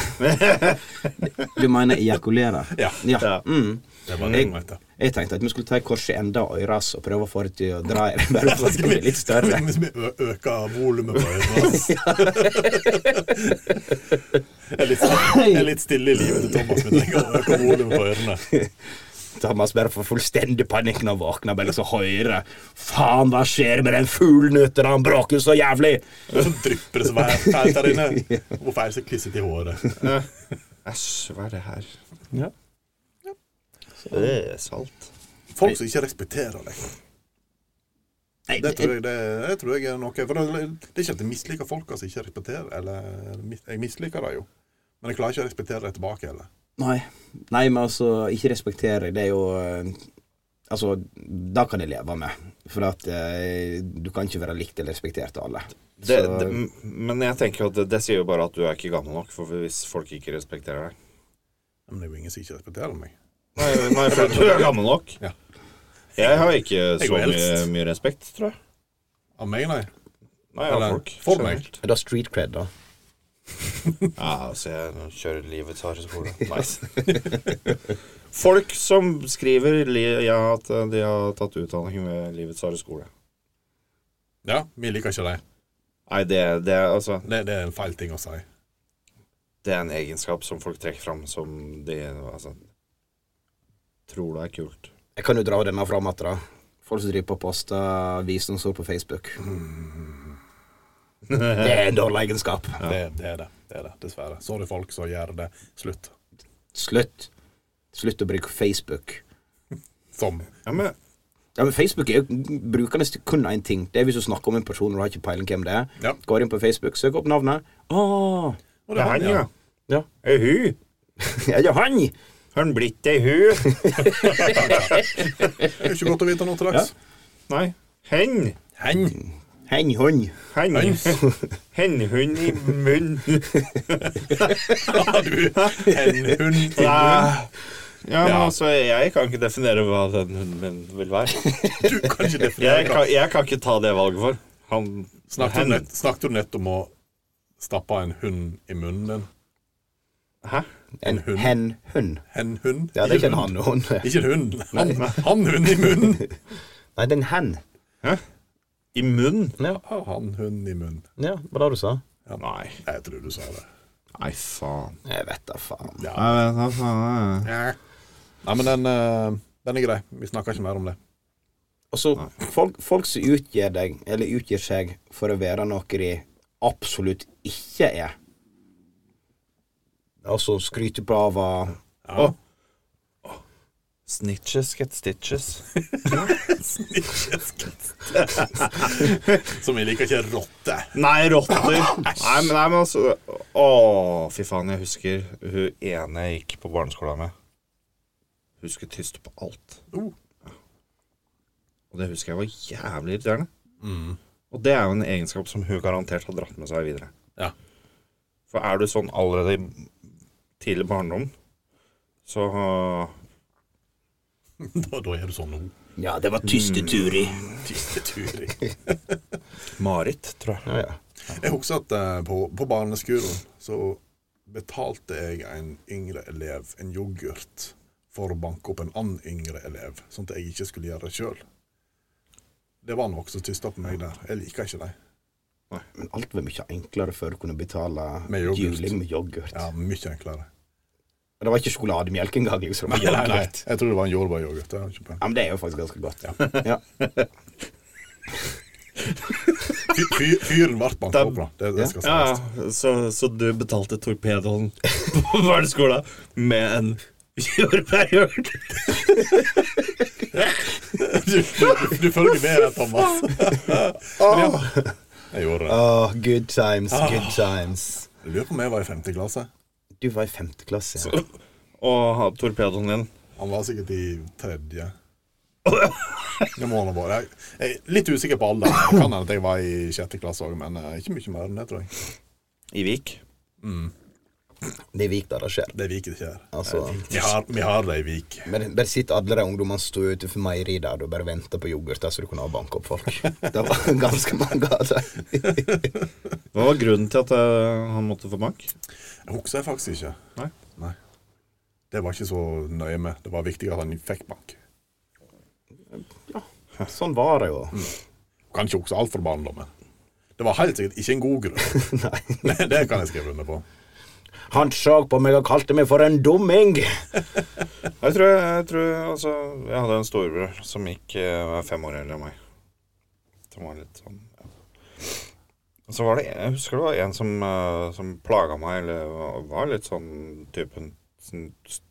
B: Du mener ejakulere?
C: Ja.
B: ja.
D: Ja.
B: Mm.
C: Det var det
B: Jeg-
C: hun mente.
B: Jeg tenkte at vi skulle ta et kors i enda av øret hans og prøve å få det til å dra i det, bare for at det skal bli litt større.
C: Hvis vi ø- øker volumet på øynene hans. Jeg er litt stille- jeg er litt stille i livet til Thomas, men jeg trenger å øke volumet på ørene.
B: Thomas bare får fullstendig panikk når han våkner, bare liksom hører Faen, hva skjer med den fuglen ute? Han bråker så jævlig!
C: Så drypper det så fælt fælt der inne. Og feil seg klisset i håret.
D: Æsj, hva er det her?
B: Ja.
D: Det er salt.
C: Folk som ikke respekterer deg.
B: Nei,
C: Det tror jeg, det, det tror jeg er noe For det, det er ikke at jeg misliker folk som ikke respekterer Eller mis- jeg misliker det jo. Men jeg klarer ikke å respektere det tilbake heller.
B: eh, Nei. Nei, men altså, ikke respektere, det er jo eh, Altså, da kan jeg leve med. For at eh, du kan ikke være likt eller respektert av alle.
D: Det,
B: Så-
D: det, m- men jeg tenker jo at det, det sier jo bare at du er ikke gammel nok, for hvis folk ikke respekterer deg
C: Men det er jo ingen som ikke respekterer meg.
D: Nei, nei for du er gammel nok.
C: Ja.
D: Jeg har ikke
C: Jeg
D: så
C: går
D: mye,
C: eldst.
D: mye respekt, tror jeg.
C: Av meg, nei.
D: Nei, av
C: Eller,
D: folk.
C: for meg.
D: generelt.
B: Da street cred, da.
D: Ja, altså, jeg kjører livets harde skole. Nice. Folk som skriver li ja, at de har tatt utdanning ved livets harde skole.
C: Ja, vi liker ikke det.
D: Nei, det, det, er- altså,
C: det. Det er en feil ting å si.
D: det er en egenskap som folk trekker fram som de altså, tror det er kult.
B: Jeg kan jo dra denne fram igjen, da. Folk som driver på og poster visdomsord på Facebook. Det er en dårlig egenskap.
C: Det, det er det. det er det, Dessverre. Sorry, folk som gjør det. Slutt.
B: Slutt. Slutt å bruke Facebook.
C: Som
D: Ja, men
B: Ja, men Facebook er jo brukende til kun én ting. Det er hvis du snakker om en person og du har ikke peiling hvem det er.
C: Ja.
B: Går inn på Facebook, søker opp navnet. Åh,
C: Og
D: det er han, ja.
B: ja.
D: Er hun?
B: Er det han?
D: Har han blitt ei hun?
C: Det er jo ikke godt å vite nå til dags.
D: Nei. Hen.
C: Hen.
B: Hen, hun.
D: Hen. Hennhund i munnen.
C: Ja, du. Hen, hun, hun.
D: Ja, men altså, jeg kan ikke definere hva den hunden min vil være.
C: Du kan ikke definere
D: Jeg
C: hva
D: kan, jeg kan ikke ta det valget for. Han
C: Snakket
D: hen.
C: du nett- Snakket du nett om å stappe en hund i munnen din?
D: Hæ?
B: En
C: hund.
B: hen, hun.
C: En hund?
B: Ja, det er ikke en han og hun.
C: Ikke en hund. Han, han hund i munnen.
B: Nei, det er en hen.
D: I munnen?
B: Ja,
C: Ja, han hund i munnen.
B: ja, hva var det du sa?
D: Nei.
C: Nei, Jeg tror du sa det.
D: Nei, faen.
B: Jeg vet da faen.
C: Nei, men den, eh, den er grei. Vi snakker ikke mer om det.
B: Altså, folk, folk som utgir deg, eller utgir seg, for å være noe de absolutt ikke er. Altså skryter på av hva-
C: Ja.
D: Snitches get stitches.
C: Som vi liker ikke rotte.
D: Nei, rotter. nei, men, nei, men altså Å, fy faen, jeg husker hun ene jeg gikk på barneskolen med. Hun skulle tyste på alt.
C: Oh.
D: Og det husker jeg var jævlig irriterende. Og det er jo en egenskap som hun garantert har dratt med seg videre.
C: Ja.
D: For er du sånn allerede i tidlig barndom, så eh,
C: Da, da er du sånn nå.
B: Ja, det var tyste Turi.
C: Tyste Turi.
D: Marit, tror jeg.
B: Ja, ja.
C: Jeg husker at eh, på, på barneskolen så betalte jeg en yngre elev en yoghurt for å banke opp en annen yngre elev, sånn at jeg ikke skulle gjøre det sjøl. Det var noe som tysta på meg der. Jeg liker ikke det.
B: Men alt var mye enklere før du kunne betale
C: Med yoghurt.
B: juling med yoghurt.
C: Ja, mye enklere.
B: Det var ikke sjokolademelk engang. Liksom.
C: Nei, nei, nei. Jeg tror det var en jordbæryoghurt. Det er ikke peiling.
B: Ja, men det er jo faktisk ganske godt. Ja.
C: Fy- fy- Fyren ble banka opp, da. Det, det skal
D: Ja,
C: sies.
D: ja. Så, så du betalte torpedoen på barneskolen med en jordbærhjort?
C: Du, du, du følger med her, Thomas. Men ja, jeg gjorde det.
B: Åh, good times, good times.
C: Jeg lurer på om jeg var i femte klasse.
B: Du var i femte klasse. Ja.
D: Og ha- torpedoen din?
C: Han var sikkert i tredje. Det må han ha vært. Jeg- Jeg er litt usikker på alder. Det Kan hende at jeg var i sjette klasse òg, men eh, ikke mye mer enn det, tror jeg.
D: I Vik?
B: Det er Vik der det skjer.
C: Det viker ikke her.
B: Altså,
C: Vi har, vi har det i Vik.
B: men bare sitter alle de ungdommene stå utenfor meieriet der og bare venter på yoghurt der, så du kunne ha banka opp folk. Det var ganske mange av dem.
D: Hva var grunnen til at eh, han måtte få bank?
C: Jeg husker faktisk ikke.
D: Nei.
C: Nei. Det var ikke så nøye med. Det var viktig at han fikk bank.
B: Sånn var det jo.
C: Kan ikke huske alt fra barndommen. Det var helt sikkert ikke en god grunn. Nei. Det kan jeg skrive under på.
B: Han så på meg og kalte meg for en dumming.
D: Jeg tror, jeg tror altså, Jeg hadde en storebror som gikk eh, var fem år eldre enn meg. Som var litt sånn ja. Og Så var det Jeg husker det var en som, eh, som plaga meg, eller var- var litt sånn typen sånn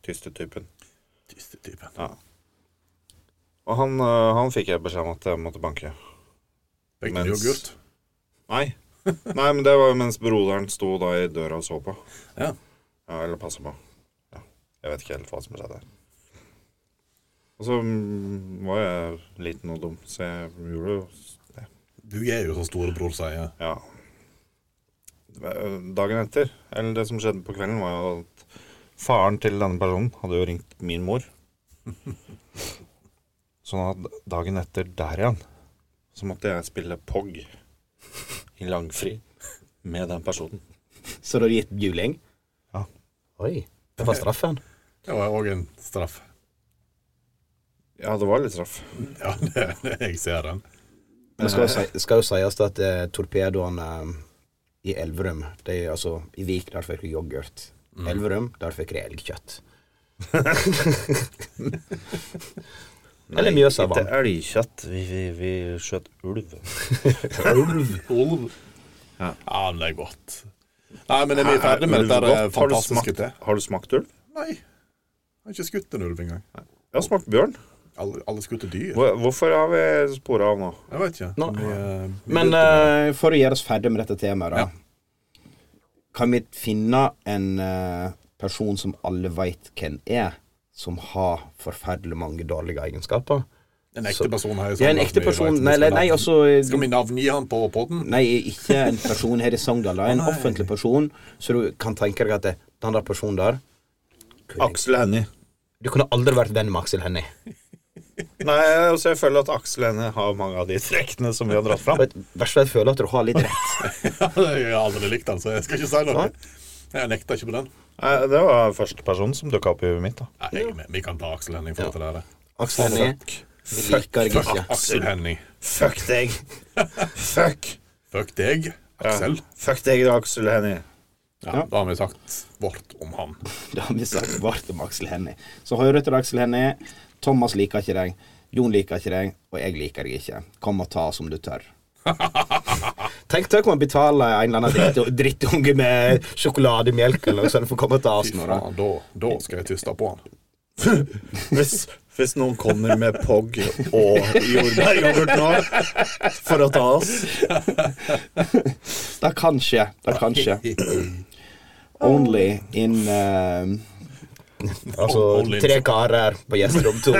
D: tyste typen.
C: Tyste typen.
D: Ja. Og han, eh, han fikk jeg beskjed om at jeg måtte banke.
C: Fikk
D: Mens-
C: du yoghurt?
D: Nei. Nei, men det var jo mens broderen sto da i døra og så på.
C: Ja.
D: Ja, eller passa på. Ja. Jeg vet ikke helt hva som skjedde. Og så mm, var jeg liten og dum, så jeg gjorde jo s- det.
C: Du er jo som storebror sier.
D: Ja. Det var, ø, Dagen etter, eller det som skjedde på kvelden, var jo at faren til denne personen hadde jo ringt min mor. Sånn at dagen etter der igjen, så måtte jeg spille POG i langfri med den personen.
B: Så du har gitt juling?
D: Ja.
B: Oi. Det var straffen.
C: Det var òg en straff.
D: Ja, det var litt straff.
C: Ja, det, det, jeg ser den.
B: Det skal, jo si- skal jo sies at eh, torpedoene um, i Elverum det er, altså, I Vik der fikk vi yoghurt. Elverum der fikk vi elgkjøtt. Eller Mjøsa vann.
D: Ikke elgkjøtt. Vi, vi, vi skjøt ulv.
C: Ulv. Ja,
D: Ja.
C: men det er godt. Nei, men er vi ferdig med dette her
D: Har du
C: fantastiske
D: smakt-
C: te?
D: Har du smakt ulv?
C: Nei. Jeg har ikke skutt en ulv engang.
D: Jeg har smakt bjørn.
C: Alle, alle skutte dyr.
D: Hvor- Hvorfor har vi spora av nå?
C: Jeg vet ikke.
B: Nå.
C: Vi, eh, vi
B: Men
C: vet om-
B: eh, for å gjøre oss ferdig med dette temaet, da. Kan vi finne en eh, person som alle veit hvem er, som har forferdelig mange dårlige egenskaper?
C: en ekte
B: så-
C: person her i
B: Ja, en
C: Sogndal
B: ekte
C: som vi
B: person
C: vet om
B: Nei,
C: skal
B: nei,
C: navn-
B: nei altså
C: Skal vi navngi han på podden?
B: Nei, ikke en person her i Sogndal. da, En
C: Å, nei.
B: offentlig person. Så du kan tenke deg at det, den der personen der kunne,
D: Aksel Hennie.
B: Du kunne aldri vært venn med Aksel Hennie.
D: Nei, altså, jeg føler at Aksel Hennie har mange av de trekkene som vi har dratt fram.
B: Vet- Verst av alt føler jeg at du har litt rett.
C: jeg har aldri likt han, så jeg skal ikke si noe. Jeg nekter ikke på den.
D: Nei, det var første personen som dukka opp i huet mitt. da
C: Nei, jeg, er med. vi kan ta Aksel Henning for dette der.
B: Aksel Hennie vi liker deg ikke.
C: Aksel Henning.
D: Fuck deg! Fuck!
C: Fuck deg, Aksel.
D: Ja. Fuck deg, da, Aksel Hennie.
C: Ja, da har vi sagt vårt om han.
B: Det har vi sagt vart om Aksel Hennie. Så hører du til Aksel Hennie. Thomas liker ikke deg. Jon liker ikke deg, og jeg liker deg ikke. Kom og ta som du tør. Tenk deg om man betaler en eller annen dritt, drittunge med sjokolademelk eller noe sånt for å komme og ta oss
C: Fy
B: nå, da.
C: faen, da, da skal jeg tyste på han.
D: Hvis, hvis noen kommer med POG og jordbæryoghurt nå for å ta oss
B: Det kan skje. Det kan skje. Only in eh, Altså
C: Only-
B: tre karer på gjesterom to.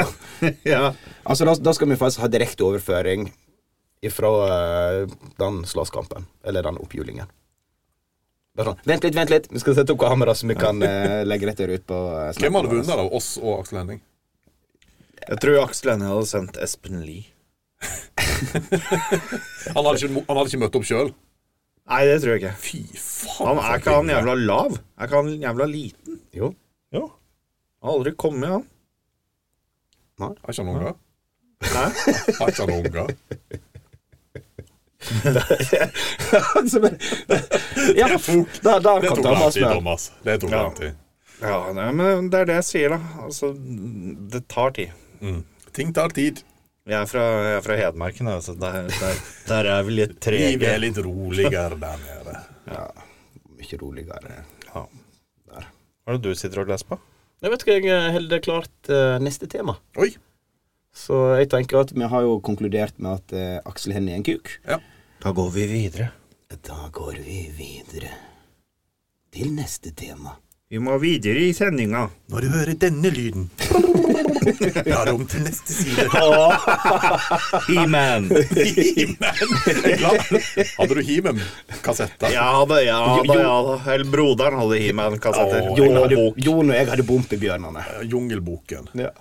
D: Ja.
B: altså, da, da skal vi faktisk ha direkte overføring fra den slåsskampen. Eller den oppjulingen. Bare sånn Vent litt, vent litt. Vi skal sette opp kamera, så vi kan eh, legge dette ut på uh,
C: Hvem hadde vunnet av oss og Aksel Henning?
D: Jeg tror Aksel Hennie hadde sendt Espen Lie.
C: Han hadde ikke, han hadde ikke møtt opp sjøl.
D: Nei, det tror jeg ikke.
C: Fy faen.
D: Han Er ikke han jævla lav? Er ikke han jævla liten?
B: Jo.
D: Jo. Har aldri kommet, han.
C: Har ikke han unger?
D: Hæ?
C: Har ikke han unger?
B: Altså, men- ja, da, da
C: Det
B: kan
C: tok lang
B: Thomas
C: tid,
B: med.
C: Thomas. Det tok lang tid.
D: Ja, nei, men det er det jeg sier, da. Altså, det tar tid.
C: Ting tar tid.
D: Jeg er fra, jeg er fra Hedmarken, da, så der, der, der er vi litt
C: Livet er
D: trege.
C: litt roligere der nede.
B: Mye roligere
D: Ja.
B: der.
D: Hva er det du sitter og leser på?
B: Jeg vet ikke, jeg holder klart eh, neste tema.
C: Oi.
B: Så jeg tenker at vi har jo konkludert med at eh, Aksel Hennie er en kuk.
D: Da går vi videre.
B: Da går vi videre til neste tema.
D: Vi må videre i sendinga.
C: Når du hører denne lyden La det om til neste side.
D: He-Man.
C: Hadde du Himen-kassetter?
D: Ja da, ja da,
B: Jo.
D: ja da. Eller broderen hadde He-Man-kassetter.
C: Å,
D: Jeg
B: Jon,
D: har
B: hadde,
D: bok.
B: Jon og jeg hadde Bompebjørnene.
C: Jungelboken.
B: Ja.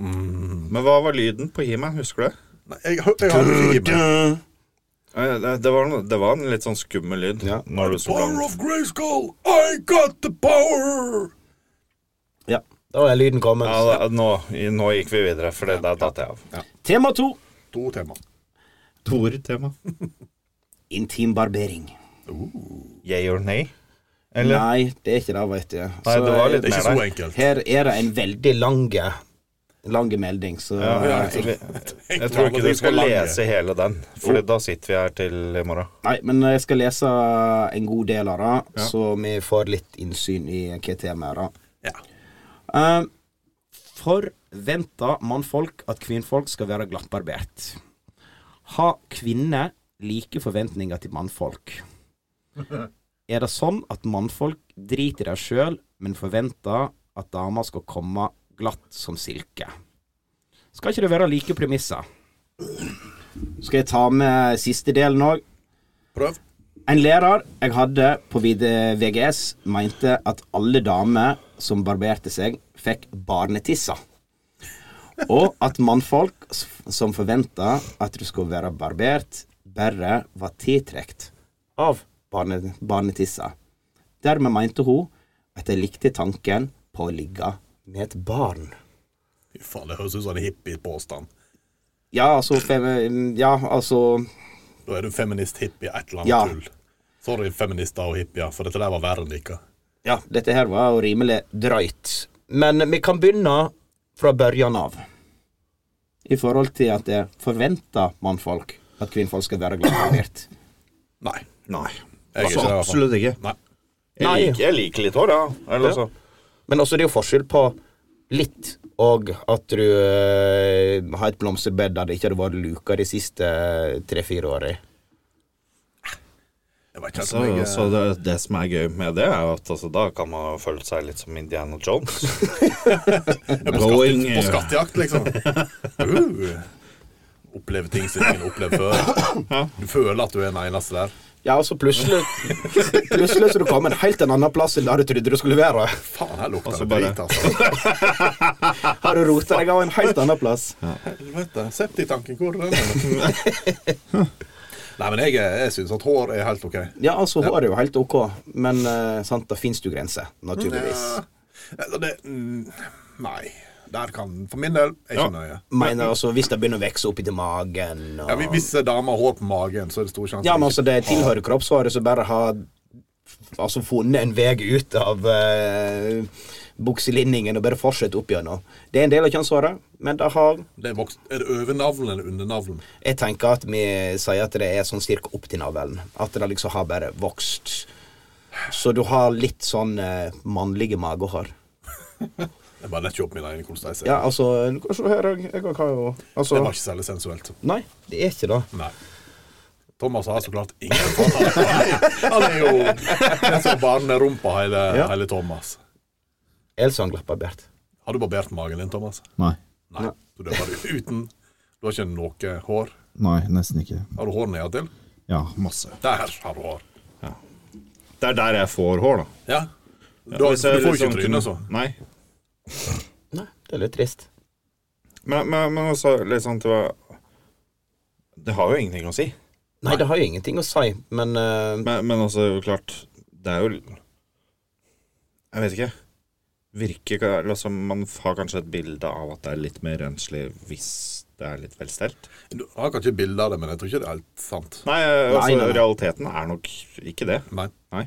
D: Men hva var lyden på He-Man? Husker du det?
C: Nei, jeg, har- jeg hadde ikke Himen.
D: Eh, Det det var, noe- det var en litt sånn skummel lyd.
B: Ja.
D: Når du så
C: Power
D: langt.
C: of Grayskull, I got the power!
B: ja. Da er lyden kommet.
D: Ja, da, nå, i- nå gikk vi videre, for det der datt jeg av.
B: Tema to.
C: To tema.
D: Store tema.
B: Intim barbering.
D: Yay or nay? Eller?
B: Nei, det er ikke det, vet du.
D: Nei,
B: Så
D: det var litt
C: Det er ikke
D: mer
C: så
D: der.
C: enkelt.
B: Her er det en veldig lange Lange melding, så eh,
D: Ja,
C: ikke
D: vi- jeg tror ikke du skal lese hele den, for da sitter vi her til i morgen.
B: Nei, men jeg skal lese en god del av det, så vi får litt innsyn i hva temaet er. da.
C: Ja.
B: Eh, Forventer mannfolk at kvinnfolk skal være glattbarbert? Har kvinner like forventninger til mannfolk? Er det sånn at mannfolk driter i det sjøl, men forventer at damer skal komme glatt som silke? Skal ikke det være like premisser? Skal jeg ta med siste delen òg?
C: Prøv.
B: En lærer jeg hadde på vid- VGS, mente at alle damer som barberte seg, fikk barnetisser. Og at mannfolk s- som forventa at du skulle være barbert, bare var tiltrukket av barne, barnetisser. Dermed mente hun at jeg likte tanken på å ligge med et barn.
C: Fy faen, det høres ut som en hippie-påstand.
B: Ja, altså, fem, ja, altså
C: Da er du feminist-hippie, et eller annet
B: Ja.
C: tull. Sorry, feminister og hippier, for dette der var verre enn dere.
B: Ja, dette her var jo rimelig drøyt. Men vi kan begynne fra børjan av. I forhold til at det forventer mannfolk at kvinnfolk skal være glatbarbert.
C: Nei.
D: Nei.
C: Jeg er ikke
D: Altså,
C: det, i hvert fall.
D: absolutt ikke.
C: Nei.
D: Jeg
B: Nei.
D: liker, jeg liker litt hår, ja. Eller så.
B: Men også det er jo forskjell på litt og at du eh, har et blomsterbed der det ikke hadde vært luka de siste eh, tre-fire åra.
C: Jeg vet ikke helt
D: Så,
C: om jeg
D: så det, det som er gøy med det, er jo at altså, da kan man føle seg litt som Indiana Jones.
C: er på,
D: Going,
C: skatte, på skattejakt, liksom. Uh. Oppleve ting som ingen har opplevd før. Du føler at du er den eneste der.
B: Ja, og så plutselig Plutselig så du kom en helt en annen plass enn der du trodde du skulle være.
C: Faen, her lukter
D: Altså,
C: det
D: bare-
C: drit, altså.
B: Har du rota deg av en helt annen plass?
C: Helvete. Septitanken, hvor er den? Nei, men jeg, eh, jeg syns at hår er helt OK.
B: Ja, altså, håret er jo helt ok, men eh, sant, det fins jo grenser, naturligvis.
C: Altså, Det, mm, nei. Der kan For min del er ikke nøye.
B: Mener altså, hvis det begynner å vekse opp i til magen og...
C: Ja, hvis- hvis damer har hår på magen, så er det stor sjanse
B: Ja, men
C: for
B: altså, det tilhører kroppshåret som bare har altså, funnet en vei ut av eh, bukselinningen og bare fortsetter opp gjennom. Det er en del av kjønnshåret, men det har
C: ikke- det er, vokst, er det overnavlen eller undernavlen?
B: Jeg tenker at vi sier at det er sånn cirka opp til navlen. At det liksom har bare vokst. Så du har litt sånn eh, mannlige magehår.
C: Jeg bare letter ikke opp min egen kolsteis.
B: Ja, altså Se her, jeg jeg har jo Altså
C: Det var ikke særlig sensuelt.
B: Nei, det er ikke det.
C: Nei. Thomas har så klart ingen forhold. Han er jo den som barnerumpa hele,
B: Ja.
C: hele Thomas.
B: Elsan glapparbert.
C: Har du barbert magen din, Thomas?
E: Nei.
C: Nei. Så du er bare uten Du har ikke noe hår?
E: Nei, nesten ikke.
C: Har du hår nedentil?
E: Ja, masse.
C: Der har du hår.
D: eh, Det er der jeg får hår, da.
C: Ja. Du, har-
D: Hvis jeg
C: du får ikke
D: liksom kunne-
C: trynet, så.
D: Nei.
B: Nei, det er litt trist.
D: Men, men, men også litt sånn til å Det har jo ingenting å si.
B: Nei, det har jo ingenting å si, men eh,
D: Men, men altså, klart Det er jo Jeg vet ikke. Virker ikke liksom, Man har kanskje et bilde av at det er litt mer renslig hvis det er litt velstelt.
C: Du har kanskje bilde av det, men jeg tror ikke det er helt sant.
D: Nei, altså,
B: Nei, nei, nei.
D: realiteten er nok ikke det.
C: Nei.
D: Nei.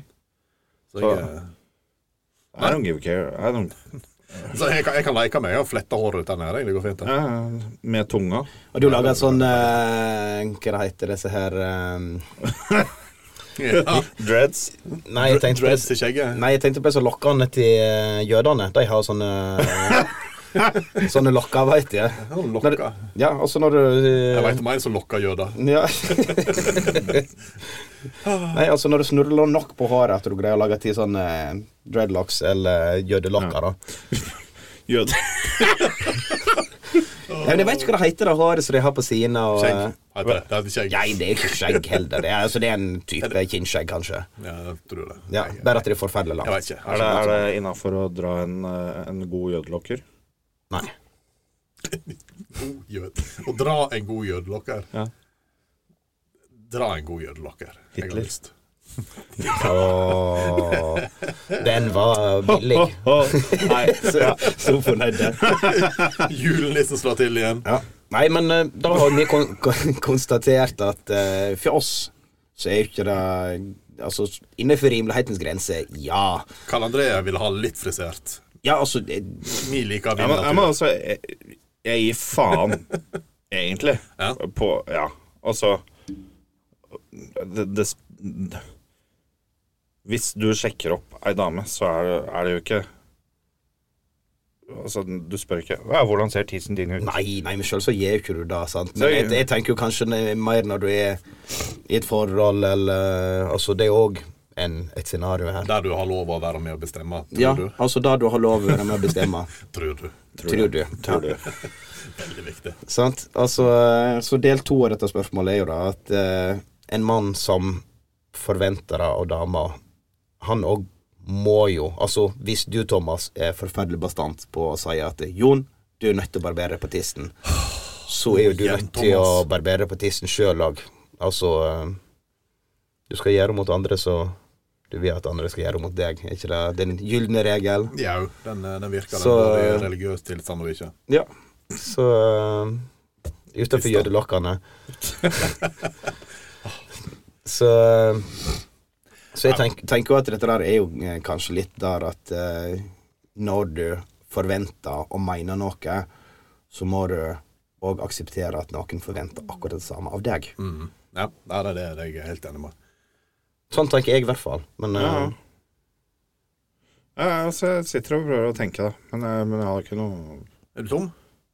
C: Så jeg,
D: I don't give a care. I don't,
C: Så jeg kan, jeg kan leke meg og flette håret ditt der nede. Det går fint. det.
D: Eh, med tunga.
B: Og du lager et sånn eh, Hva det heter disse her eh,
C: Ja.
D: Dreads.
B: Nei, jeg tenkte på
C: Dreads i skjegget.
B: Nei, jeg tenkte på disse lokkene til eh, jødene. De har sånne Sånne lokker, veit jeg.
C: Han
B: Når,
C: lokker.
B: ja, og så når du eh,
C: Jeg veit om en som lokker jøder.
B: Ja. Nei, altså når du snurler nok på håret at du greier å lage til sånne eh, dreadlocks eller jødelokker, da.
D: Jøde.
B: Ja, men jeg vet ikke hva det heter, det håret som de har på siden av
C: Skjegg
B: eh,
C: heter det. Det heter skjegg.
B: Nei, det er ikke skjegg heller. Det er, altså, det er en type kinnskjegg, kanskje.
C: Ja, jeg tror det.
B: Ja,
C: Nei,
B: Bare at det er forferdelig
C: Jeg
B: langt.
C: veit ikke.
D: Er det, er det innafor å dra en, eh, en god jødelokker?
B: Nei.
C: God jød. Å dra en god jødelokker.
D: Ja.
C: Dra en god jødelokker. Jeg har
D: Hitler.
C: lyst.
B: Åh, den var billig.
D: Nei,
B: Så, så fornøyd der.
C: Julenissen liksom slår til igjen.
B: Ja. Nei, men eh, da har vi kon kon konstatert at eh, for oss så er jo ikke det Altså, innenfor rimelighetens grense, ja.
C: Karl André ville ha litt frisert.
B: Ja, altså eh,
C: Vi liker
D: Ja, men, ja, men
C: vindnatur.
D: altså jeg, jeg gir faen, egentlig.
C: Ja.
D: På Ja, altså det, det, det Hvis du sjekker opp ei dame, så er det, er det jo ikke Altså, du spør ikke «Hva, 'Hvordan ser tissen din ut?'
B: Nei, nei, men selv så gjør jo ikke du det, sant. Men
D: Nei.
B: jeg, jeg tenker jo kanskje ne- mer når du er i et forhold, eller Altså, det er òg et scenario her.
C: Der du har lov å være med og bestemme, tror
B: Ja,
C: du?
B: altså det du har lov å være med å bestemme.
C: Tror du.
B: tror du.
D: Tror du?
C: Veldig viktig.
B: Sant? Altså, eh, så del to av dette spørsmålet er jo da at eh, en mann som forventer det av dama, han òg må jo Altså, hvis du, Thomas, er forferdelig bastant på å si at Jon, du er nødt til å barbere på tissen, så er jo du
C: Igjen,
B: nødt til å
C: Thomas.
B: barbere på tissen sjøl òg. Altså eh, Du skal gjøre mot andre, så du vil at andre skal gjøre mot deg. Er ikke det den gylne regel?
C: Jau, den, eh, den virker den
B: Så-
C: både i religiøs tilstand og ikke.
B: Ja. Så uh, Utenfor jødelokkene. så eh, Så jeg tenk, tenker jo at dette der er jo eh, kanskje litt der at eh, når du forventer og mener noe, så må du òg akseptere at noen forventer akkurat det samme av deg.
C: Mm. Ja, nei, det er det jeg er helt enig med.
B: Sånn tenker jeg i hvert fall. Men eh,
D: Ja. Ja, altså, jeg sitter og prøver å tenke, da. Men, jeg- men jeg har ikke noe
C: Er du tom?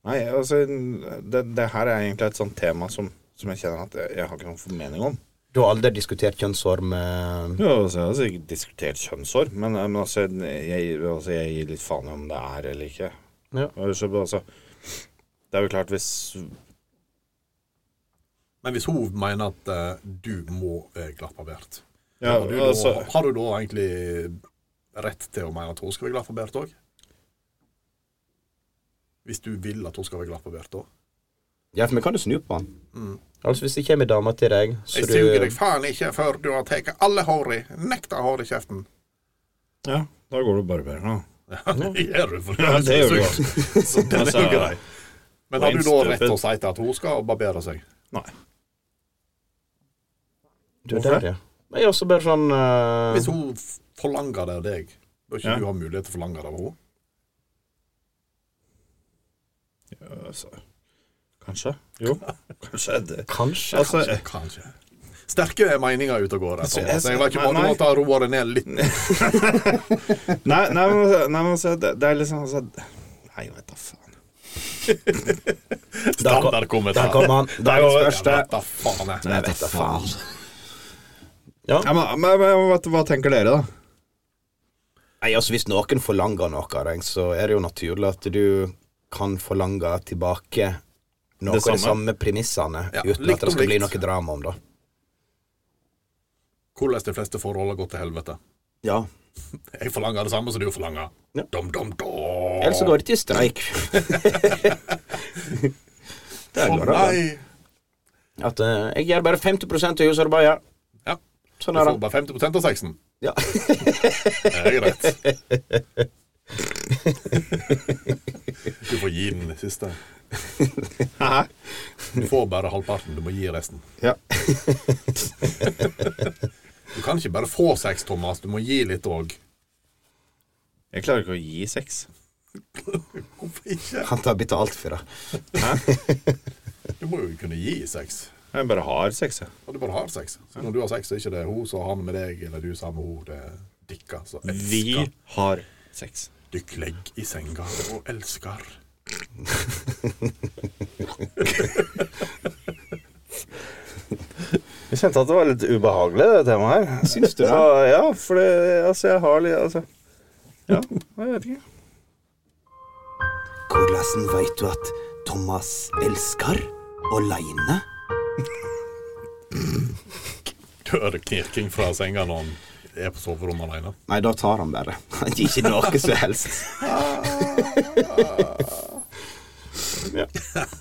D: Nei, altså Det, det her er egentlig et sånt tema som, som jeg kjenner at jeg, jeg har ikke noen formening om.
B: du har aldri diskutert kjønnshår med
D: Ja, altså, jeg har sikkert diskutert kjønnshår, men, men altså, jeg, altså, jeg gir litt faen i om det er eller ikke.
B: Ja.
D: Og Så, altså, det er jo klart hvis
C: Men hvis hun mener at eh, du må eh, være glattbarbert,
D: ja,
C: har, du da-
D: altså,
C: har du da egentlig rett til å mene at hun skal være glattbarbert òg? Hvis du vil at hun skal være glattbarbert òg?
B: Ja, for vi kan jo snu på den.
C: Mm.
B: Altså, hvis det kommer ei dame til deg så
C: Jeg
B: du-
C: suger deg faen ikke før du har tatt alle hår i. Nekter hår i kjeften.
D: ja, da går du barberer, da.
C: Ja, det gjør du. For
D: Ja, det gjør du
C: Så den er jo
D: Altså,
C: grei. Men har du da rett til å
D: stupid.
C: si til at hun skal barbere seg?
D: Nei.
B: Du er
D: Hvorfor
B: der, ja. Nei, også bare sånn eh,
C: Hvis hun f- forlanger det av deg, bør ikke
D: Ja.
C: du ha mulighet til å forlange det av henne?
D: Ja, altså, kanskje. Jo, kanskje. Det.
B: Kanskje.
D: Altså,
C: Kanskje. Sterke meninger ute og går. her,
D: Altså,
C: Thomas.
D: jeg-
C: Jeg vet ikke om du
D: nei,
C: må
D: nei.
C: ta roa deg ned litt.
D: nei, nei, men, altså- nei, men altså, det, det er liksom altså, Nei, jeg vet da faen.
B: Der kom han. Dagens første.
C: Da faen jeg.
B: Jeg vet da faen. Ja.
D: Ja, men, men, men hva, hva tenker dere, da?
B: Nei, altså, hvis noen forlanger noe av deg, så er det jo naturlig at du kan forlange tilbake noe av de
D: Det samme.
B: samme premissene,
C: Ja,
B: uten
C: likt
B: at det
C: om
B: skal bli
C: likt.
B: noe drama om det.
C: Hvordan de fleste forhold har gått til helvete.
B: Ja.
C: Jeg forlanger det samme som du forlanger.
B: Ja.
C: Dom, dom,
B: Ellers så
C: dom.
B: går det til streik. Der
C: Å
B: går det an.
C: nei!
B: At eh, jeg gjør bare 50 av husarbeidet.
C: Ja. Du
B: Sånn er
C: får
B: det.
C: bare 50 av sexen.
B: Ja.
C: Det er greit. Du får gi den siste. Du får bare halvparten. Du må gi resten.
B: Ja.
C: Du kan ikke bare få sex, Thomas. Du må gi litt òg.
D: Jeg klarer ikke å gi sex.
C: Hvorfor ikke?
B: Han tar betalt for det.
C: Du må jo kunne gi sex.
D: Jeg bare har sex, jeg.
C: Og du bare har sex. Så når du har sex, så er ikke det hun som har han med deg, eller du sammen med hun. Det er dikka som
D: Vi
C: elsker.
D: har sex.
C: Dykk legg i senga og elsker.
F: Jeg kjente at det var litt ubehagelig, det temaet her.
B: Syns du det?
F: Ja, ja for det, altså, jeg har litt altså, Ja, jeg vet ikke.
B: Hvordan veit du at Thomas elsker aleine?
C: Du hører knirking fra senga når han er på soverommet alene.
B: Nei, da tar han bare. Han gir ikke noe som helst. ja.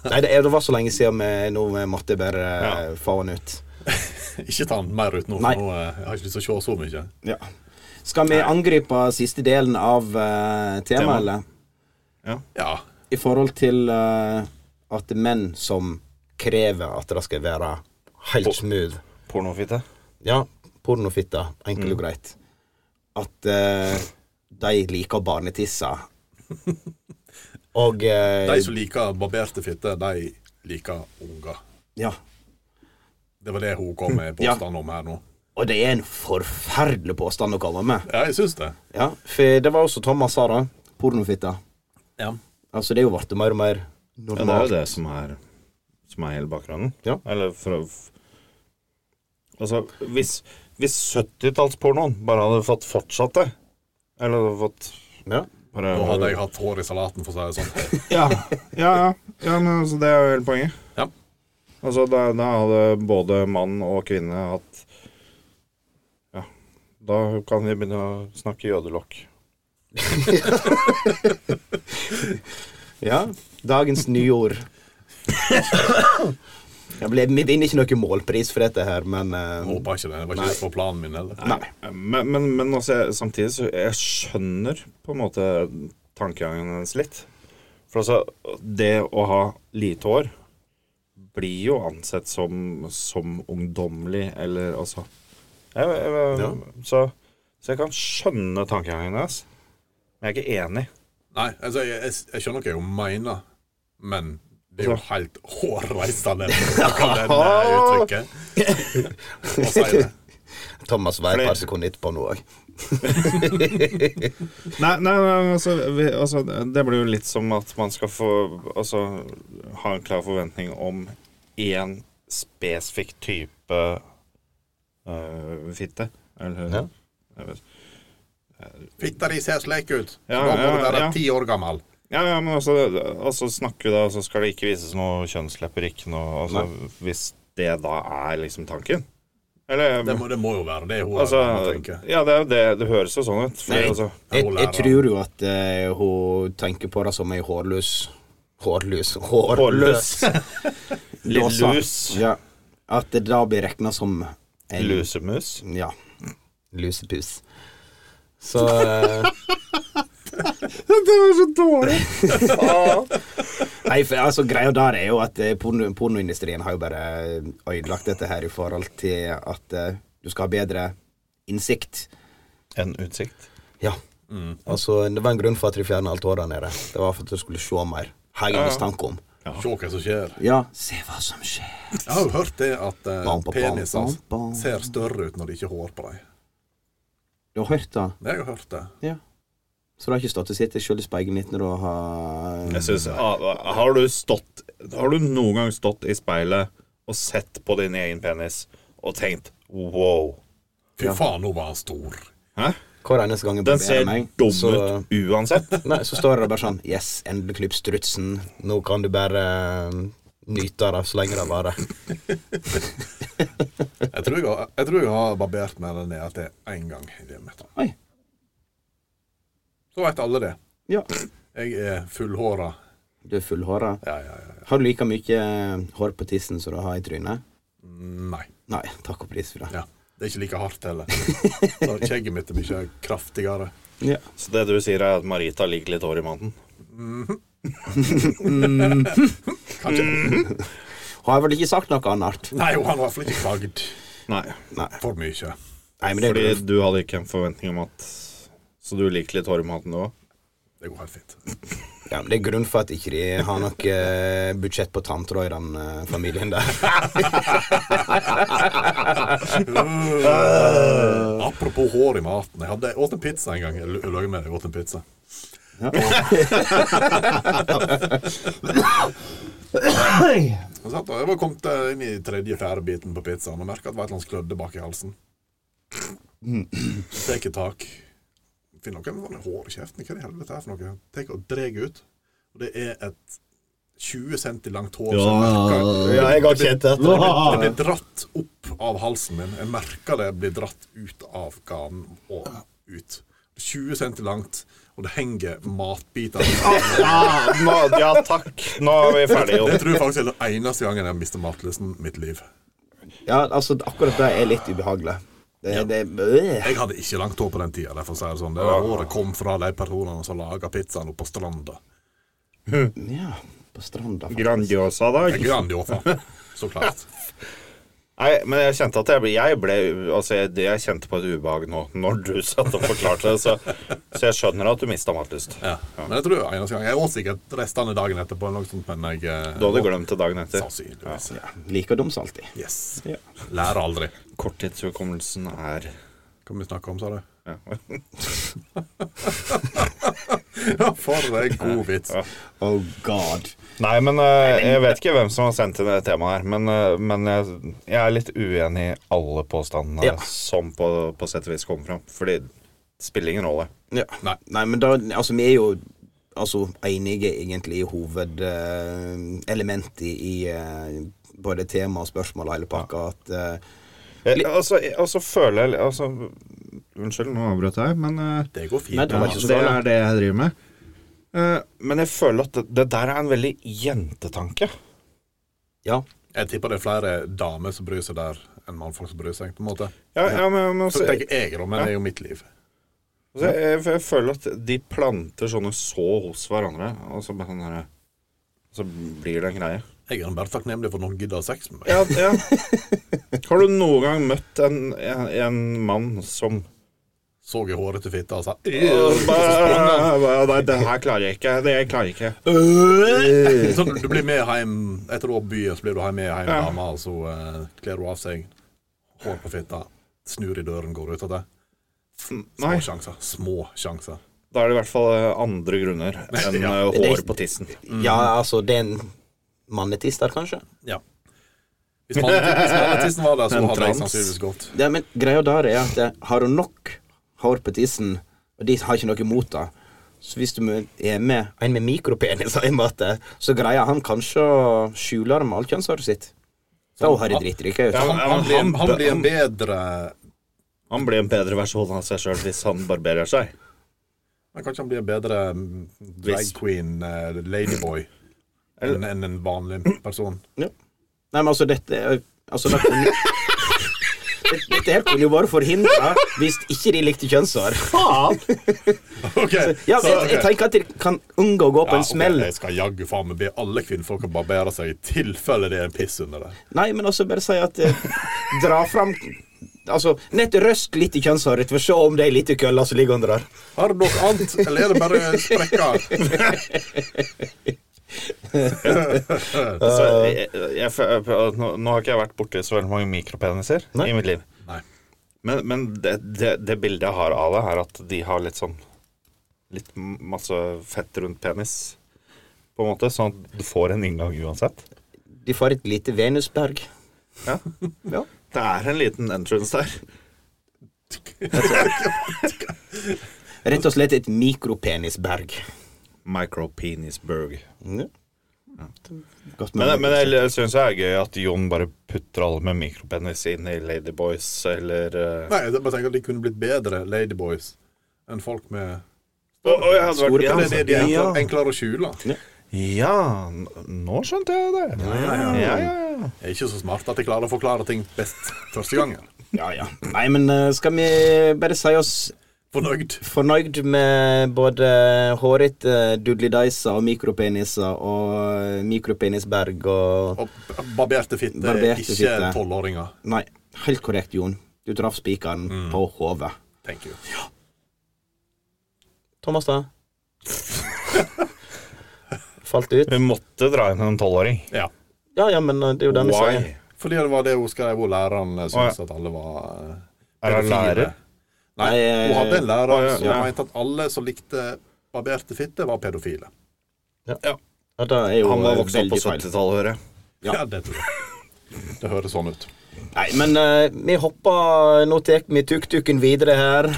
B: Nei, det, er- det var så lenge siden vi nå vi måtte bare eh, få han ut.
C: Ikke ta han mer ut nå,
B: Nei.
C: for nå eh, jeg har ikke lyst til å se så mye.
B: Ja. Skal vi angripe siste delen av eh,
D: Tema.
B: temaet, eller?
C: Ja.
B: I forhold til eh, at menn som krever at det skal være helt smooth
F: Pornofitte.
B: Ja, pornofitta, enkelt og greit. At eh, de liker barnetisser. Og eh,
C: De som liker barberte fitter, de liker unger.
B: Ja.
C: Det var det hun kom med
B: Ja.
C: påstand om her nå.
B: Og det er en forferdelig påstand å komme med.
C: Ja, jeg syns det.
B: Ja, For det var også Thomas sa, da. Pornofitta.
C: Ja.
B: Altså, det er jo blitt mer og mer
D: Ja, det er
B: normalt.
D: jo det som er, som er hele bakgrunnen.
B: Ja.
D: Eller for å f- Altså, hvis, hvis 70-tallspornoen bare hadde fått fortsatt det Eller hadde fått
B: Ja.
D: bare
C: Nå hadde jeg hatt hår i salaten, for å si det sånn.
D: ja, ja, ja. ja, men altså, det er jo hele poenget.
C: Ja.
D: Altså, da, da hadde både mann og kvinne hatt Ja, da kan vi begynne å snakke jødelokk.
B: Ja, dagens nyord. Jeg ble, vi vinner ikke noen målpris for dette her, men eh,
C: Jeg Håper ikke det. Det var ikke på planen min heller.
B: Nei.
D: Eh, Men, men, men altså, jeg, samtidig så jeg skjønner på en måte tankegangen hennes litt. For altså, det å ha lite hår blir jo ansett som, som ungdommelig, eller altså jeg, jeg, jeg,
B: Ja.
D: så, så jeg kan skjønne tankegangen hennes. Men jeg er ikke enig.
C: Nei, altså, jeg, jeg, jeg skjønner hva hun mener, men det er jo
B: Altså.
C: helt hårreisende å kalle det uttrykket. Å si det.
B: Thomas var et
D: Fordi-
B: par sekunder etterpå nå òg.
D: Nei, nei, nei altså, vi, altså Det blir jo litt som at man skal få Altså ha en klar forventning om én spesifikk type øh, fitte. Eller
B: Ja.
D: Jeg vet-
C: Fitta di ser slik ut.
D: Ja,
C: da må
D: ja,
C: du være
D: ja.
C: ti år gammel.
D: ja, ja, men altså, altså snakker vi da, så skal det ikke vises noe kjønnslepper, ikke noe altså, Hvis det da er liksom tanken. Eller
C: Det må, det må jo være det hun
D: Altså
C: tenker.
D: Ja, det, er jo det, det høres jo sånn ut.
B: Nei.
D: For, altså,
B: Jeg,
C: Hun
B: jeg
C: lærer.
B: tror jo at eh, hun tenker på det som ei hårløs Hårløs Hårløs
D: litt
B: dåse.
D: lus.
B: Ja. At det da blir regna som en
D: Lusemus.
B: Ja. Lusepus. Så eh,
D: Det var så dårlig!
B: Nei, for altså Greia der er jo at eh, porno, pornoindustrien har jo bare eh, ødelagt dette her i forhold til at eh, du skal ha bedre innsikt.
D: En utsikt.
B: Ja.
D: Mm.
B: Altså, det var en grunn for at de fjerna alt håret der nede. Det var for at du skulle se mer. Har jeg en mistanke om.
C: Se hva som skjer.
B: Ja, se hva som skjer.
C: Jeg har jo hørt det at eh,
B: Bam, ba, bam,
C: peniser
D: altså.
B: bam, bam.
C: ser større ut når det ikke er hår på dem.
B: Du har hørt det?
C: Det har jeg hørt det.
B: Ja. Så du har ikke stått og sett deg sjøl i speilet ditt når du har
D: Jeg synes, ah, har, du stått, har du noen gang stått i speilet og sett på din egen penis og tenkt wow?
C: Fy faen, nå var han stor.
D: Hæ?
B: Hver eneste gang jeg
D: Den ser
B: barberer meg,
D: dum
B: så,
D: ut uansett.
B: nei, så står det bare sånn Yes, endelig klipp strutsen. Nå kan du bare eh, nyte det så lenge det varer.
C: Jeg tror jeg, har, jeg, tror jeg har barbert meg den ned til én gang i diameteren.
B: Oi.
C: Så veit alle det.
B: Ja.
C: Jeg er fullhåra.
B: Du er fullhåra.
C: Ja, ja, ja, ja.
B: Har du like mye eh, hår på tissen som du har i trynet?
C: Nei.
B: Nei, takk og pris for det.
C: Ja. Det er ikke like hardt heller. Så Skjegget mitt er mye kraftigere.
B: Ja.
D: Så det du sier, er at Marita liker litt hår i mannen?
B: Har jeg vel ikke sagt noe annet?
C: Nei, hun har i hvert fall ikke klagd
D: Nei.
B: Nei.
C: for mye.
B: Nei, men det er
D: Fordi
B: jo
D: du hadde ikke en forventning om at Så du liker litt ormhatten du òg?
C: Det går helt fint.
B: Ja, men Det er grunn for at ikke de har nok eh, budsjett på tanter i den eh, familien der.
C: Apropos hår i maten. Jeg hadde jeg åt en pizza en gang. Jeg lø- jeg løy med deg, jeg åt en pizza. Jeg, satt, og- jeg var kommet eh, inn i tredje-fjerde biten på pizzaen og merka at det var et eller annet klødde bak i halsen. Jeg Tar tak. Finner noe med hår i kjeften. Hva i helvete er det for noe? Tar og drar ut. Og det er et 20 cm langt hår som merker
B: jeg har kjent dette.
C: Det blir dratt opp av halsen min. Jeg merker det blir dratt ut av ganen og ut. 20 cm langt, og det henger matbiter.
B: Ah,
D: Ja, nå, ja, takk. Nå er vi ferdige.
C: Jeg
D: Jon.
C: tror faktisk det er den eneste gangen jeg har mistet matlysten i mitt liv.
B: Ja, altså, akkurat det er litt ubehagelig. Det, det, øh.
C: Jeg hadde ikke langt hår på den tida. Derfor sier jeg det sånn. Det der håret kom fra de personene som laga pizzaen oppe på stranda.
B: Ja, på stranda. faktisk.
D: Grandiosa dag.
C: Jeg er grandiosa, så klart.
D: Nei, men jeg kjente at jeg ble, jeg ble Altså, jeg, det jeg kjente på et ubehag nå, når du satt og forklarte det, så, så jeg skjønner at du mista matlyst.
C: Ja. Men jeg tror det er eneste gang. Jeg åt sikkert restene dagen etterpå, eller noe sånt, men jeg eh,
D: Du hadde glemt det dagen etter.
C: Sannsynligvis.
B: Like dumt som alltid.
C: Yes.
B: Ja.
C: Lærer aldri.
D: Korttidshukommelsen er
C: Kan vi snakke om, sa du?
D: ja.
C: Ja, for en god vits.
B: Oh god.
D: Nei, men eh, jeg vet ikke hvem som har sendt inn det temaet her, men, eh, men jeg, jeg er litt uenig i alle påstandene
B: Ja.
D: som på, på sett og vis kommer fram. Fordi det spiller ingen rolle.
B: Ja. Nei. men da Altså, vi er jo altså, enige egentlig i hovedelementet i eh, både tema og spørsmål og hele pakka. At eh,
D: Jeg, altså, jeg, altså føler jeg altså, Unnskyld, nå avbrøt jeg, men eh,
C: Det går fint.
B: Nei, det var
D: ja,
B: ikke så
D: det
B: farlig.
D: er det jeg driver med. Eh, men jeg føler at det, det der er en veldig jentetanke.
B: Ja.
C: Jeg tipper det er flere damer som bryr seg der, enn mannfolk som bryr seg. på en måte.
D: Ja, ja, men, men
C: Så
D: altså, jeg,
C: tenker jeg, da, men det er jo mitt liv.
D: altså, jeg, jeg føler at de planter sånne så hos hverandre, og så, bare sånn her, så blir det en greie.
C: Jeg er bare takknemlig for at noen gidder å ha sex med meg.
D: Ja, ja. Har du noen gang møtt en, en, en mann som
C: Så jeg håret til fitta og sa
D: «Øh,
C: «Øh»,
D: bæ- Nei, det her klarer jeg ikke. Det jeg klarer jeg ikke.
C: Sånn, du blir med hjem etter du har byen, så blir du med hjem med
D: Ja.
C: dama, og så eh, kler hun av seg hår på fitta, snur i døren, går ut av det. Små
D: Nei.
C: sjanser. Små sjanser.
D: Da er det i hvert fall eh, andre grunner enn
C: Ja.
D: eh, hår på tissen.
B: ja, altså, det er en mannetiss der, kanskje?
C: Ja. Hvis mannetissen var der, så
D: En
C: hadde jeg
D: trans.
C: sannsynligvis gått.
B: Ja, men greia der er at eh, har du nok hår på tissen, og de har ikke noe imot det, så hvis du mø- er med en med mikropenis hjemme igjen, så greier han kanskje å skjule det med alt kjønnshåret sitt. Da har de drittrykke ut.
D: Ja, men-
C: Han, han,
D: blir
C: blir,
D: en-
C: han blir en bedre
D: Han blir en bedre versjon av seg sjøl hvis han barberer seg.
C: Men kanskje han blir en bedre mm, drag
D: Hvis-
C: queen, eh, ladyboy, enn enn en vanlig person.
B: Ja. Nei, men altså, dette er- altså, det kunne... Dette- Dette her kunne jo vært forhindra hvis ikke de likte kjønnshår. Faen!
C: Ok,
B: Ja,
C: så,
B: jeg, jeg
C: ok.
B: tenker at de kan unngå å gå på
C: Ja,
B: en
C: ok,
B: smell.
C: Jeg skal jaggu faen meg be alle kvinnfolk å barbere seg, i tilfelle det er en piss under det.
B: Nei, men altså bare si at eh, Dra fram Altså, nett røsk litt i kjønnshåret for å se om det er lite køller som ligger under der.
C: Har du noe annet, eller er det bare sprekker?
D: Så jeg, jeg, jeg, fø- nå, nå har ikke jeg vært borti så veldig mange mikropeniser
B: Nei.
D: i mitt liv.
C: Nei.
D: Men, men det, det, det bildet jeg har av det, er at de har litt sånn Litt masse fett rundt penis, på en måte. Sånn at du får en inngang uansett.
B: De får et lite venusberg.
D: Ja.
B: Ja.
D: Det er en liten entrance der.
B: Rett og slett et mikropenisberg.
D: Micropenisburg.
B: Ja. Godt
D: Men,
B: med
D: men jeg syns det er gøy at Jon bare putter alle med mikropenis inn i Ladyboys eller eh,
C: Nei, jeg bare tenker at de kunne blitt bedre ladyboys enn folk med
D: Å, å, jeg hadde vært
B: Store
D: ja,
C: Det er det de er
B: Ja.
C: enklere, enklere å skjule.
D: Ja, n- nå skjønte jeg det. ja, ja, ja.
C: Jeg er ikke så smart at jeg klarer å forklare ting best første gangen.
B: Ja, ja. Nei, men eh, skal vi bare si oss
C: Fornøyd.
B: fornøyd med både hårete dudledeiser og mikropeniser og eh, mikropenisberg og
C: Og barberte fitte er
B: Barberte
C: ikke
B: fitte.
C: tolvåringer,
B: Nei,
D: Mm.
B: helt korrekt, Jon. Du traff spikeren på hodet.
C: tenker jeg.
B: Thomas, da? Falt ut?
D: Vi måtte dra inn en tolvåring.
B: Ja, ja, men eh, det er jo den vi sier.
D: Why?
C: Fordi det var det hun skrev, og læreren eh,
D: Å,
C: syntes at alle var eh,
D: Er han
C: pedofile.
D: lærer?
C: Nei,
B: Nei,
C: hun hadde en lærer
D: å, ja,
C: som
D: ja.
C: mente at alle som likte barberte fitte, var pedofile.
B: Ja, det er jo
D: Han var
B: eh,
D: vokst opp på
B: veldig feil.
D: 70-tallet, hører jeg.
B: Ja.
C: Ja, det tror jeg. Det høres sånn ut.
B: Nei, men eh, vi hopper Nå tar vi tuk-tuken videre her.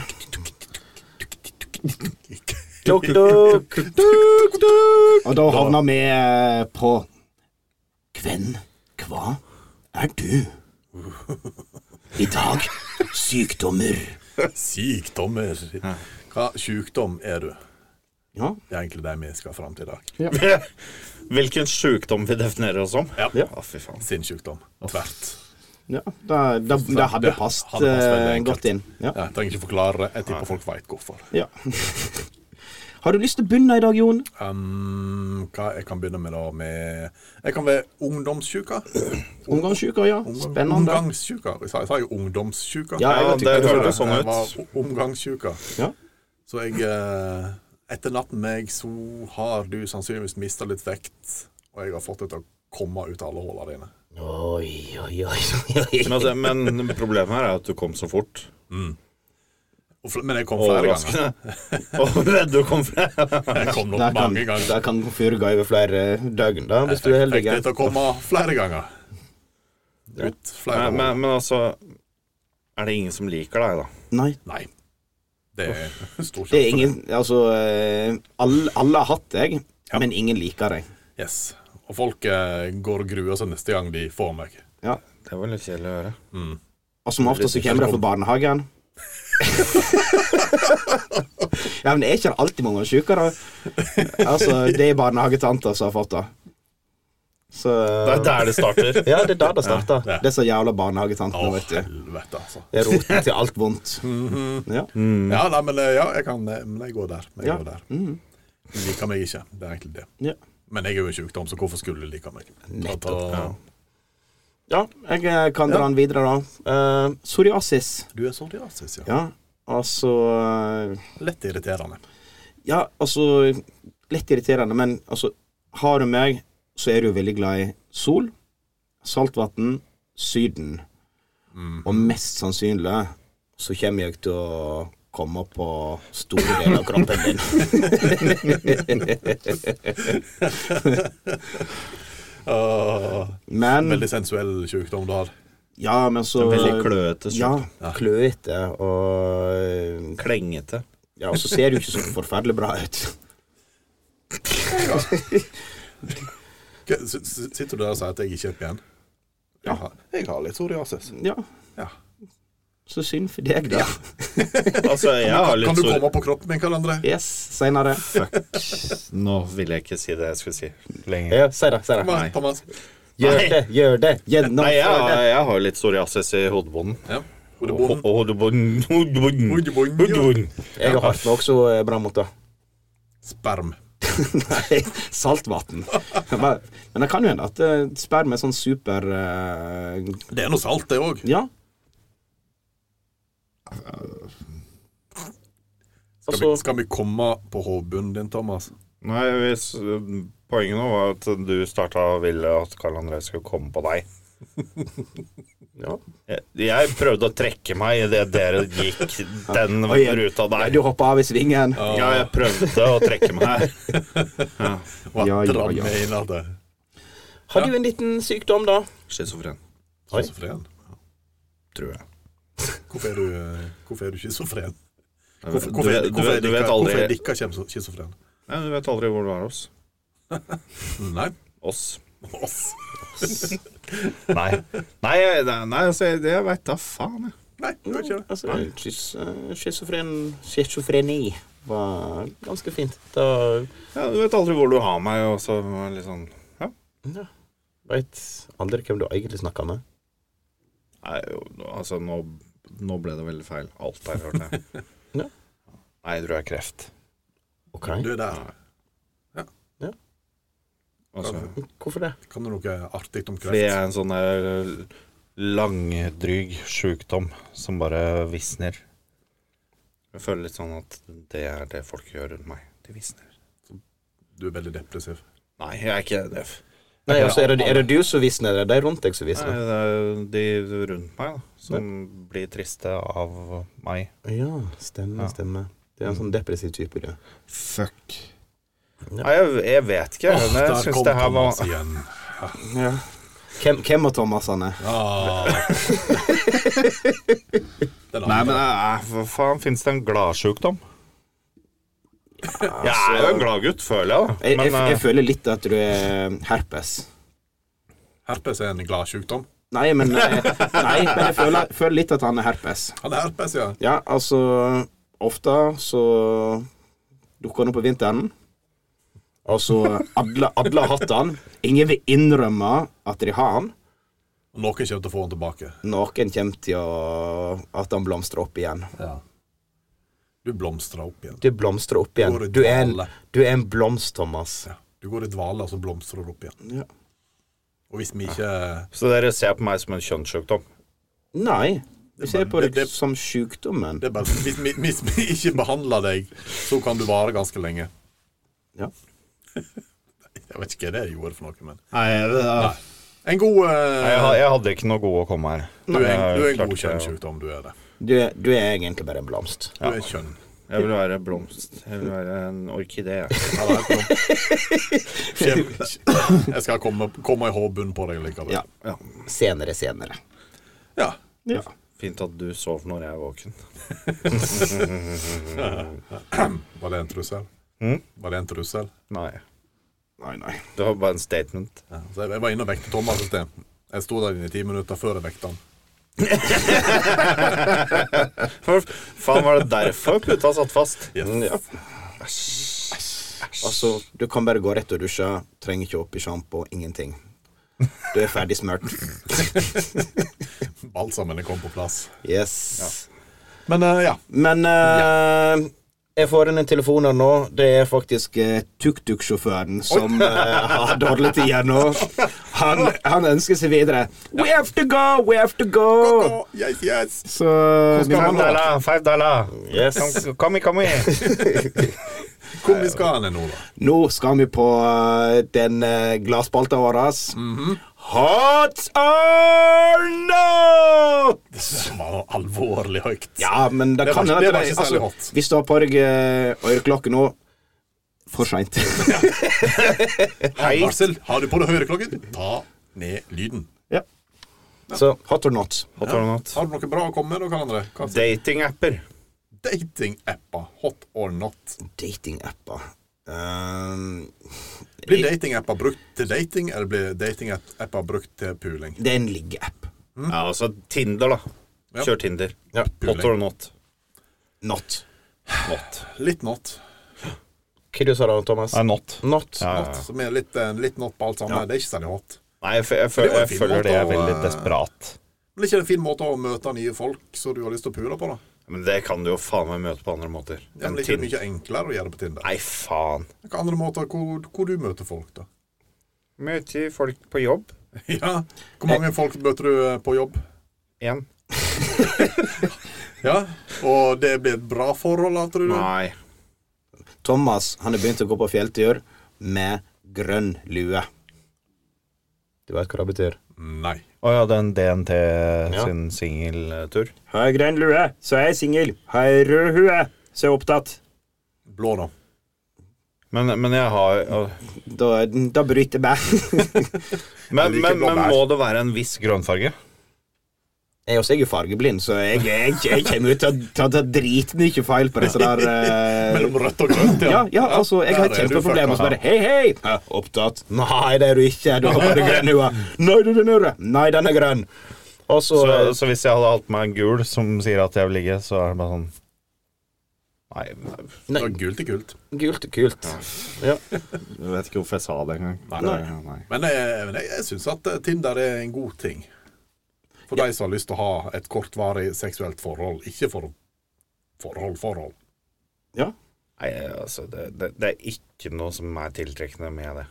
B: Tuk-tuk, tuk-tuk. Og da havner vi eh, på Hvem, hva, er du? I dag sykdommer.
C: Sykdommer. Hva sjukdom er du?
B: Ja,
C: Det er egentlig det vi skal fram til i dag.
D: Hvilken sjukdom vi definerer oss som?
C: Ja.
B: Ja.
D: Å, fy faen.
C: Sinnssjukdom. Tvert.
B: ja det, det, det hadde
C: Det
B: passet
C: hadde passet veldig
B: eh,
C: enkelt.
B: godt inn. Ja.
C: Ja, jeg trenger ikke forklare det. Jeg tipper folk veit hvorfor.
B: Ja. Har du lyst til å begynne i dag, Jon?
C: Um, hva jeg kan begynne med, da? Med Jeg kan være ungdomssjuka.
B: Omgangssjuka, ja. Spennende.
C: Omgangssjuka. Sa sa jeg ungdomssjuka?
B: Ja, jeg
D: Ja,
B: vet
D: det
B: ikke.
D: hørtes sånn
C: Jeg
D: ut.
C: var omgangssjuka.
B: Ja.
C: Så jeg eh, Etter natten med meg, så har du sannsynligvis mista litt vekt, og jeg har fått det til å komme ut av alle hullene dine.
B: Oi, oi, oi, oi.
D: Men, altså, men problemet her er at du kom så fort.
C: Og fl- Men jeg kom flere ganger.
D: Overraskende. Og du kom fra
C: Jeg kom nok
B: Der kan,
C: mange ganger.
B: der kan fyret gå over flere døgn, da, hvis du er heldig.
C: Fikk det til å komme flere ganger. Ut flere
D: men,
C: hull.
D: men, men altså Er det ingen som liker deg, da?
B: Nei,
C: Nei. Det er stor
B: det er
C: sjanse.
B: ingen Altså, eh, alle, alle har hatt deg, men ingen liker deg.
C: Yes. Og folk eh, går og gruer seg neste gang de får meg.
B: Ja.
D: Det var litt kjedelig å høre.
B: Og som ofte så kommer det liksom fra barnehagen. ja, men det er ikke alltid mange sykere. Altså, det er barnehagetanter som har fått det. Så
D: Det er der det starter.
B: Ja, det er der det starter.
C: Ja, ja.
B: Disse jævla
C: Å,
B: barnehagetantene, vet du.
C: helvete, altså.
B: Det er roten til alt vondt.
D: Mhm.
B: Ja.
C: Ja, nei, men eh, ja, jeg kan eh, Men jeg går der. Jeg
B: Ja.
C: går der. De liker meg ikke. Det er egentlig det.
B: ja.
C: Men jeg er jo en sjukdom, så hvorfor skulle de like meg?
B: Nettopp,
C: Da-
B: Ja, jeg eh, kan dra den videre, da. Eh, psoriasis.
C: Du er psoriasis, ja.
B: Ja, altså eh,
C: Lett irriterende.
B: Ja, altså Lett irriterende, men altså Har du meg, så er du jo veldig glad i sol, saltvann, Syden.
D: Mhm.
B: Og mest sannsynlig så kommer jeg til å komme på store deler av kroppen din.
C: Åh,
B: Men
C: veldig sensuell sjukdom du har.
B: Ja, men så
D: Veldig kløete.
B: Ja,
D: sjukdom.
B: kløete og
D: Klengete.
B: Ja, og så ser du ikke så forferdelig bra ut.
C: K- s- s- Sitter du der og sier at jeg ikke er pen? Jeg har, jeg har litt psoriasis.
B: Ja,
C: Ja.
B: så synd for deg, da.
D: Altså, jeg har
C: Kan
D: litt
C: du
D: sår
C: komme på kroppen min, Karl André?
B: Yes, seinere.
E: Nå
D: Vil jeg ikke si det jeg skulle si lenger.
B: Ja, si det, si det.
C: Thomas, Thomas.
B: Gjør
D: Nei.
B: det, gjør det.
D: Nei, jeg,
B: Gjennomfør det.
D: jeg har litt psoriasis i hodebonden.
C: Ja.
D: Og
C: Hodebonden.
D: hodebonden Hodebonden.
C: Hodebonden, ja.
D: Hodebonden.
B: Jeg har hatt meg også eh, bra mot det.
C: Sperm.
B: Nei, saltvann. Men men det kan jo hende at eh, sperm er sånn super eh,
C: Det er noe salt, det òg.
B: Ja.
C: Skal,
B: Altså,
C: vi- skal vi komme på hodebunnen din, Thomas?
D: Nei, hvis, poenget nå var at du starta og ville at Karl André skulle komme på deg.
B: ja.
D: Jeg, jeg prøvde å trekke meg idet dere gikk den
B: Oi, jeg-
D: ruta
B: Nei,
D: der.
B: du hoppa av i svingen.
D: Ja, jeg prøvde å trekke meg.
C: Hva
E: Ja, ja,
C: drar
E: ja.
C: vi inn av det?
B: Har du en liten sykdom, da?
D: Schizofren,
B: Oi.
C: Schizofren?
D: tror jeg.
C: Hvorfor er du, eh, hvorfor er du schizofren?
D: Du,
C: Hvorfor,
D: vet-
C: hvorfor,
D: du,
C: hvorfor er
D: vet- du vet
C: dere- hvorfor er
D: aldri
C: dere kjem- schizofren?
D: Nei, du vet aldri hvor du er hos
C: Nei.
D: oss.
C: Oss.
D: Nei, nei, jeg- nei, nei altså, jeg, jeg veit da faen, jeg.
C: Nei, du er ikke det.
B: Altså, schis- eh, schizofren Schizofreni var ganske fint. Da
D: Ja, du vet aldri hvor du har meg, og så var det litt sånn Ja.
B: ja. veit aldri hvem du egentlig snakker med.
D: Nei, jo, altså, nå, nå ble det veldig feil. Alt her, hørte jeg.
B: Ja.
D: Nei, jeg tror jeg har kreft.
B: Ok,
C: Du er der.
D: Altså,
B: Hvorfor det?
C: Kan du noe artig om
D: fordi jeg
C: kreft?
D: er en sånn der langdryg sjukdom som bare visner. Jeg føler litt sånn at det er det folk gjør rundt meg. De visner.
C: Du er veldig depressiv.
D: Nei, jeg er ikke døv.
B: Nei, altså, er det, er det du som visner, eller er det de rundt deg som
D: Nei,
B: visner?
D: det er jo de rundt meg da, som blir triste av meg.
B: Ja, stemmer,
D: Ja.
B: stemmer. Det er en sånn depressiv type, du.
E: Fuck.
D: Nei, jeg, jeg vet ikke.
C: Åh,
D: men jeg
C: der
D: syns
C: kom
D: det her
C: Thomas
D: var
C: igjen.
B: Ja. Hvem, hvem av Thomasene?
C: Ah. Den
D: Nei,
C: andre.
D: men eh, hva faen, fins det en gladsjukdom?
C: Altså-
D: altså, Jeg er jo en gladgutt, føler jeg, da.
B: Jeg, jeg,
D: Men
B: jeg
D: eh,
B: føler litt at du er herpes.
C: Herpes er en gladsjukdom.
B: Nei, men, eh, nei, men jeg føler, føler litt at han er herpes.
C: Han er herpes, ja.
B: Ja, altså Ofte så dukker han opp på vinteren. Altså, alle, alle har hatt han. Ingen vil innrømme at de har han.
C: Og noen kommer til å få han tilbake.
B: Noen kommer til å, at han blomstrer opp igjen.
C: Du blomstrer opp igjen.
B: Du blomstrer opp igjen.
C: Går i
B: Du er en,
C: dvale.
B: du er en blomst, Thomas.
C: Ja. Du går i dvale, og så blomstrer du opp igjen.
B: Ja.
C: Og hvis vi ikke
D: Så dere ser på meg som en kjønnssjukdom?
B: Nei. Du ser på
C: det-
B: det
C: det-
B: som sjukdommen.
C: det er bare, hvis, vi, hvis vi ikke behandler deg, så kan du vare ganske lenge.
B: Ja.
C: Jeg vet ikke hva det gjorde for noe, men
E: Nei, det er
C: En god eh,
D: Jeg, ha- jeg hadde ikke noe god å komme her.
C: Du er en,
D: Jeg
C: du er en
D: klarte
C: god
D: ikke å-
C: kjønnssykdom, du er det.
B: Du, er- du er egentlig bare en blomst.
C: Du er kjønn.
D: Jeg vil være blomst. Jeg vil være en orkidé.
C: Ja, det er helt lov. Kjem- Jeg skal komme, komme i håbunnen på deg likevel.
B: Ja.
D: Ja.
B: Senere, senere.
C: Ja.
D: Fint at du sov når jeg er våken.
C: Var det en trussel?
D: Mm?
C: Var det en trussel?
D: Nei.
B: Nei, nei.
D: Det var bare en statement.
C: Ja. Så jeg, jeg var inne og vekte Thomas et sted. Jeg sto der inne i ti minutter før jeg vekte han.
D: For faen, var det derfor puta satt fast? Mm,
B: Ja. Altså, du kan bare gå rett og dusje. Trenger ikke opp i sjampo. Ingenting. Du er ferdig smurt.
C: Balsamene kom på plass.
B: Yes.
C: Men eh, ja.
B: Men eh, jeg får inn en telefon her nå. Det er faktisk eh, tuk-tuk-sjåføren som eh, har dårlig tid her nå. Han, han ønsker seg videre. We have to go, we have to go. Eh,
C: Å, yes, yes.
E: Så vi
D: Five dollar, five dollar.
B: Yes.
D: Kom- Kom i, kom i.
C: Hvor vi skal han hen nå, da?
B: Nå skal vi på eh, den eh, glasspalta vår. Hot or not?
C: Det var alvorlig høyt.
B: Ja, men det,
C: Det var
B: kan
C: ikke-
B: hende
C: det var
B: at det-
C: ikke særlig hot.
B: Hvis du har på deg eh, øreklokke nå For seint.
C: Hei. Marcel, har du på deg høreklokken? Ta ned lyden.
B: Så hot or not?
D: Hot or not?
C: Har du noe bra å komme med, dere andre? Hva sier
D: Datingapper.
C: datingapper? Hot or not?
B: Datingapper. Um,
C: Blir datingapper brukt til dating, eller blir datingapper brukt til puling?
B: det er en liggeapp.
D: Ja, altså Tinder, da.
C: Mm. Ja.
D: Kjør Tinder.
B: Ja.
D: Hot or not?
B: Not.
D: Not.
C: Litt not.
B: Hva du sa du, Thomas?
D: Nei, not.
B: Not.
C: not som er litt, eh, litt not på alt sammen. Det er ikke særlig hot.
D: Nei, jeg, f- jeg,
C: Det
D: føler,
C: var en
D: jeg
C: fin måte
D: føler det er
C: å,
D: veldig
C: eh,
D: desperat.
C: Men det er ikke en fin måte å møte nye folk som du har lyst til å pule på, da?
D: Men det kan du jo faen meg møte på andre måter.
C: Ja, men
D: Enn
C: det er ikke
D: Tinder.
C: mye enklere å gjøre det på Tinder.
D: Nei, faen.
C: Hvilke andre måter hvor, hvor du møter folk, da?
D: Møte folk på jobb.
C: Ja. Hvor mange folk møter du eh, på jobb?
D: Én.
C: Ja. Og det blir et bra forhold, da, tror du?
D: Nei.
B: Thomas han har begynt å gå på fjelltur med grønn lue. Du vet hva det betyr?
C: Nei.
D: Å ja, den DNT
B: Ja.
D: sin singeltur.
B: Har jeg grønn lue, så er jeg singel. Har jeg rød hue, så er jeg opptatt.
C: Blå, da.
D: Men, men jeg har å,
B: Da, da bryter jeg meg.
D: men,
C: liker
D: men,
C: blå
D: men
C: bær.
D: må det være en viss grønnfarge?
B: Jeg også er jo fargeblind, så jeg, jeg, jeg kommer ut til å ta, ta dritmye feil på disse der eh,
C: Mellom rødt og grønt,
B: Ja, ja, altså, jeg har
C: Der
B: et
C: er du
B: kjempeproblem. Og så
C: fucka.
B: bare Hei, hei! Ja, opptatt. Nei, det er du ikke. Du har bare grønn hue. Nei, du, den er rød. Nei, den er grønn. Og så
D: Så, så hvis jeg hadde hatt meg en gul som sier at jeg vil ligge, så er det bare sånn Nei, nei.
B: Nei,
C: Ja, gult er gult.
B: eh, gult er kult. Ja.
E: Jeg vet ikke hvorfor jeg sa det engang.
C: Nei. Men eh, men jeg, jeg syns at eh, Tinder er en god ting. For de som har lyst til å ha et kortvarig seksuelt forhold. Ikke for forhold, forhold.
D: nei altså, det, det, det er ikke noe som er tiltrekkende med det.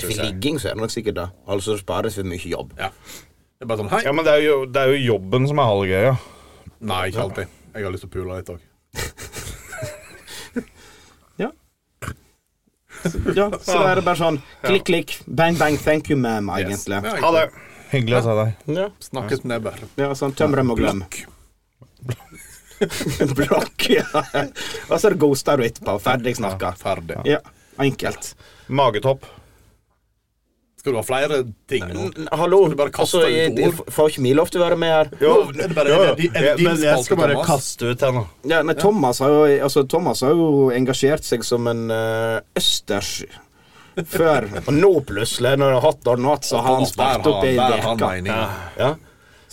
B: For ligging så er det nok sikkert det. Altså det spares for mye jobb.
C: Det er bare sånn Hei!
D: Ja, men det er jo, det er jo jobben som er halvgøya.
C: Nei, ikke alltid. Jeg har lyst til å pule litt òg.
B: Ja, så er det bare sånn klikk, klikk, bang, bang, thank you, ma'am, egentlig.
D: Ha det.
E: Hyggelig å se deg.
D: Ja.
C: Snakkes nebber.
B: Ja, sånn tøm dem og glem. Blokk, ja. Og så er det ghoster du etterpå. Ferdig snakka.
C: Ferdig.
B: Ja, enkelt.
D: Magetopp.
C: Skal du ha flere ting nå?
B: N- Hallo,
C: Skal du bare kaste
B: altså,
C: ut
B: jeg-
C: ord?
B: f- får ikke vi lov til å være med her?
C: Jo, er det bare- er det- er det
D: Ja,
C: din
D: Men jeg skal
C: spalte,
D: bare
C: Thomas?
D: kaste ut den, da.
B: Ja, nei, Thomas har jo, altså, Thomas har jo engasjert seg som en eh, østers før. Og nå plutselig, når det er hot or not, så har han
C: Thomas, der
B: spart opp
C: har-
B: i
C: der har han
B: veka.
C: mening.
B: Ja. Ja.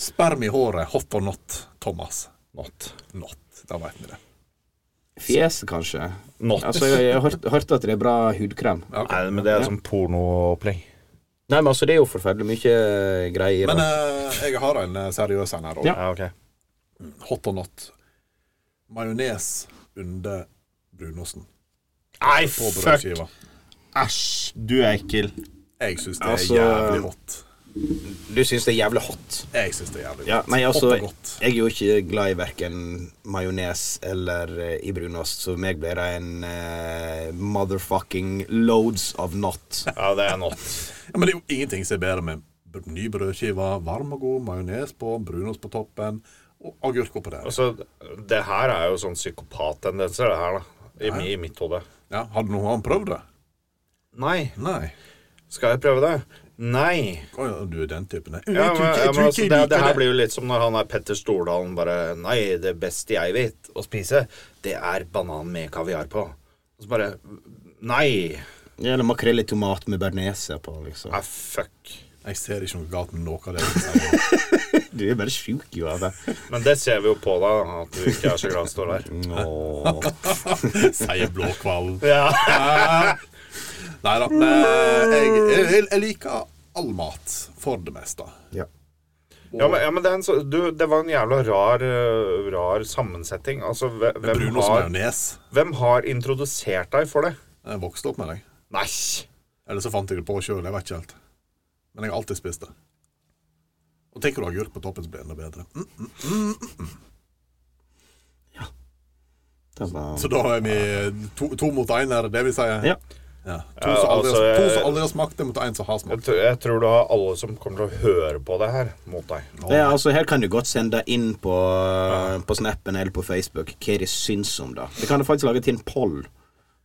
C: Sperm i håret, hot or not, Thomas. Not. Not. Da veit vi det.
B: Fjeset, kanskje.
D: Not.
B: Altså, jeg jeg har hørt, hørt at det er bra hudkrem.
C: Ja, ok.
D: Nei, men det er sånn pornoopplegg.
B: Nei, men altså, det er jo forferdelig mye greier.
C: Men
B: da.
C: eh, jeg har en eh, seriøs en her òg.
B: Ja.
D: Ja, ok.
C: Hot or not. Majones under brunosten
D: Nei,
C: på
D: fuck!
C: brødskiva.
E: Æsj, du er ekkel.
C: Jeg syns det er
B: Altså-
C: jævlig hot.
B: du syns det er jævlig hot.
C: Jeg syns det er jævlig
B: Ja,
C: hot.
B: nei, altså, jeg
C: hot og godt.
B: er jo ikke glad i verken majones eller eh, i brunost, så meg blir det en eh, motherfucking loads of not.
D: Ja, det er not.
C: Ja, men det er jo ingenting som er bedre med br- ny brødskive, varm og god, majones på, brunost på toppen og agurk oppå der.
D: Altså, det her er jo sånn psykopattendenser, det her, da. I, mi- I mitt hode.
C: Ja, hadde noen prøvd det?
D: Nei.
C: Nei.
D: Skal jeg prøve det? Nei.
C: Å ja, du er den typen, jeg.
D: Ja,
C: Jeg
D: men,
C: tror ikke
D: ja,
C: jeg
D: men
C: tror
D: altså,
C: ikke jeg
D: det, det her
C: liker det.
D: blir jo litt som når han er Petter Stordalen bare Nei, det beste jeg vet å spise, det er banan med kaviar på. Og så bare Nei!
B: Ja, Eller makrell i tomat med bearnese på, liksom.
D: Nei, fuck.
C: Jeg ser ikke noe galt med noe av det. du sier.
B: Du er bare sjuk, jo, av det.
D: Men det ser vi jo på deg, da, at du ikke er så glad i står der.
C: Sier blåkvallen.
D: Ja.
C: Nei da. men eh, Jeg, jeg, jeg liker all mat, for det meste.
B: Ja.
D: Ja, men, eh, ja, men det, er en, så- du, det var en jævla rar, eh, rar sammensetting. Altså, hve- hvem
C: Brunost
D: har,
C: majones.
D: hvem har introdusert deg for det?
C: Jeg vokste opp med deg.
D: Nei!
C: Eller så fant jeg det på sjøl, jeg vet ikke helt. Men jeg har alltid spist det. Og tenker du agurk på toppen, så blir det enda bedre. Mm.
B: Det var
C: Så da er vi eh, to, to mot én, er det det vi sier?
B: Ja.
C: Ja. To som aldri,
D: altså,
C: har- to
D: jeg-
C: som aldri har smakt det, mot én som har
D: Jeg,
C: smakt.
D: tr- jeg tror du har alle som kommer til å høre på det her, mot deg.
B: ja, altså Her kan du godt sende inn på, eh, på Snappen eller på Facebook hva de syns om det. Vi kan jo faktisk lage til en poll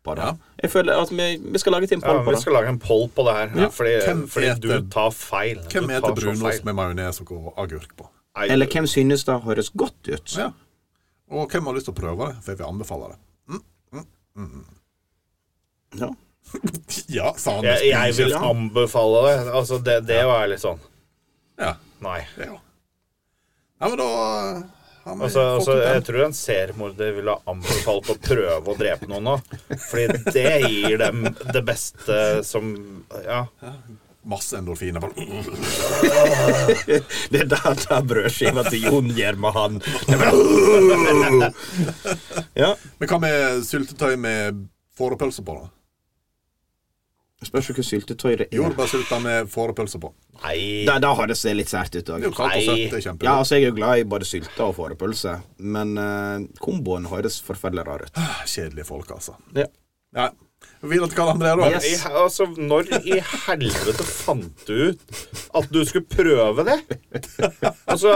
B: på det.
C: Ja.
B: Jeg føler at vi, vi skal lage til en
D: Ja,
B: poll på
D: vi
B: det.
D: skal lage en poll på det her, ja, fordi,
C: Hvem
D: fordi
C: heter-
D: du tar feil.
C: Hvem
D: Du
C: heter
D: tar så feil.
C: brunost med majones og agurk på?
D: Nei,
B: Eller hvem synes det høres godt ut?
C: Ja. Og hvem har lyst til å prøve det? For jeg vil anbefale det.
B: Ja.
C: Ja, sa han. med
D: Jeg, jeg vil
C: spinnkjeft.
D: anbefale det. Altså, det, det var litt sånn
C: Ja,
D: Nei.
C: det er jo. Ja, men da har vi
D: Altså,
C: fått
D: altså,
C: ut
D: jeg
C: den.
D: tror en seriemorder ville ha anbefalt å prøve å drepe noen nå. Fordi det gir dem det beste som Ja.
C: Masse endorfiner.
B: Det er da ta brødskiva til Jon gjør med han. ja.
C: Men hva med syltetøy med fårepølse på, da?
B: Spørs jo hva syltetøy det er.
C: Jordbærsylta med fårepølse på.
D: Nei.
B: Da, da har det sett litt sært ut
C: Det er
B: òg.
C: jo kaldt og
D: Nei.
C: søtt, det er kjempegodt.
B: Ja, altså, jeg er jo glad i både sylte og fårepølse, men eh, komboen høres forferdelig rar ut.
C: Kjedelige folk, altså.
B: Ja.
C: Ja. Vil at Karl André, da?
D: Men i, altså, når i helvete fant du ut at du skulle prøve det? Og så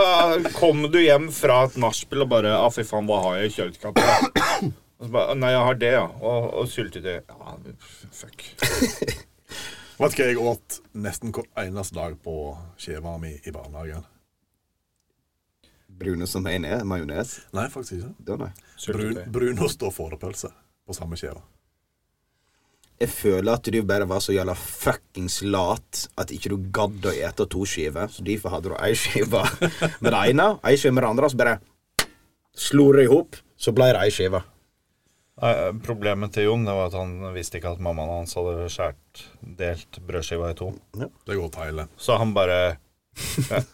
D: kom du hjem fra et nachspiel og bare ah, 'Fy faen, hva har jeg i kjøleskapet?' Og så bare 'Nei, jeg har det, ja.' Og, og syltetøy. Ja, fuck.
C: Vet du hva jeg åt nesten hver eneste dag på skiva mi i barnehagen?
B: Brune som en er, majones.
C: Nei, faktisk ikke.
B: Det er det.
C: Brun,
D: Syltetøy.
C: brunost og fårepølse på samme skiva.
B: Jeg føler at du bare var så jævla fuckings lat at ikke du gadd å ete to skiver, så derfor hadde du ei skive med det ene, ei skive med det andre, og så bare slo det i hop, så ble det ei skive.
D: Nei, Problemet til Jon det var at han visste ikke at mammaen hans hadde skjært delt brødskiva i to.
C: Det går til hele.
D: Så han bare Ja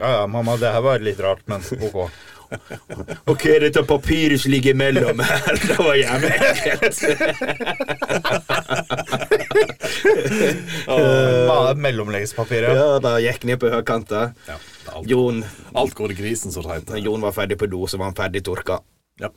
D: ja, ja, mamma, det her var litt rart, men ok.
B: Ok, dette papiret som ligger imellom her, det var jævlig ekkelt.
D: Ma- Mellomleggspapiret.
B: Ja, det gikk ned på høykanta.
C: Ja, det er alt,
B: Jon,
C: alt går i grisen, som det
B: når
C: heter.
B: Jon var ferdig på do, så var han ferdig tørka.
C: Ja.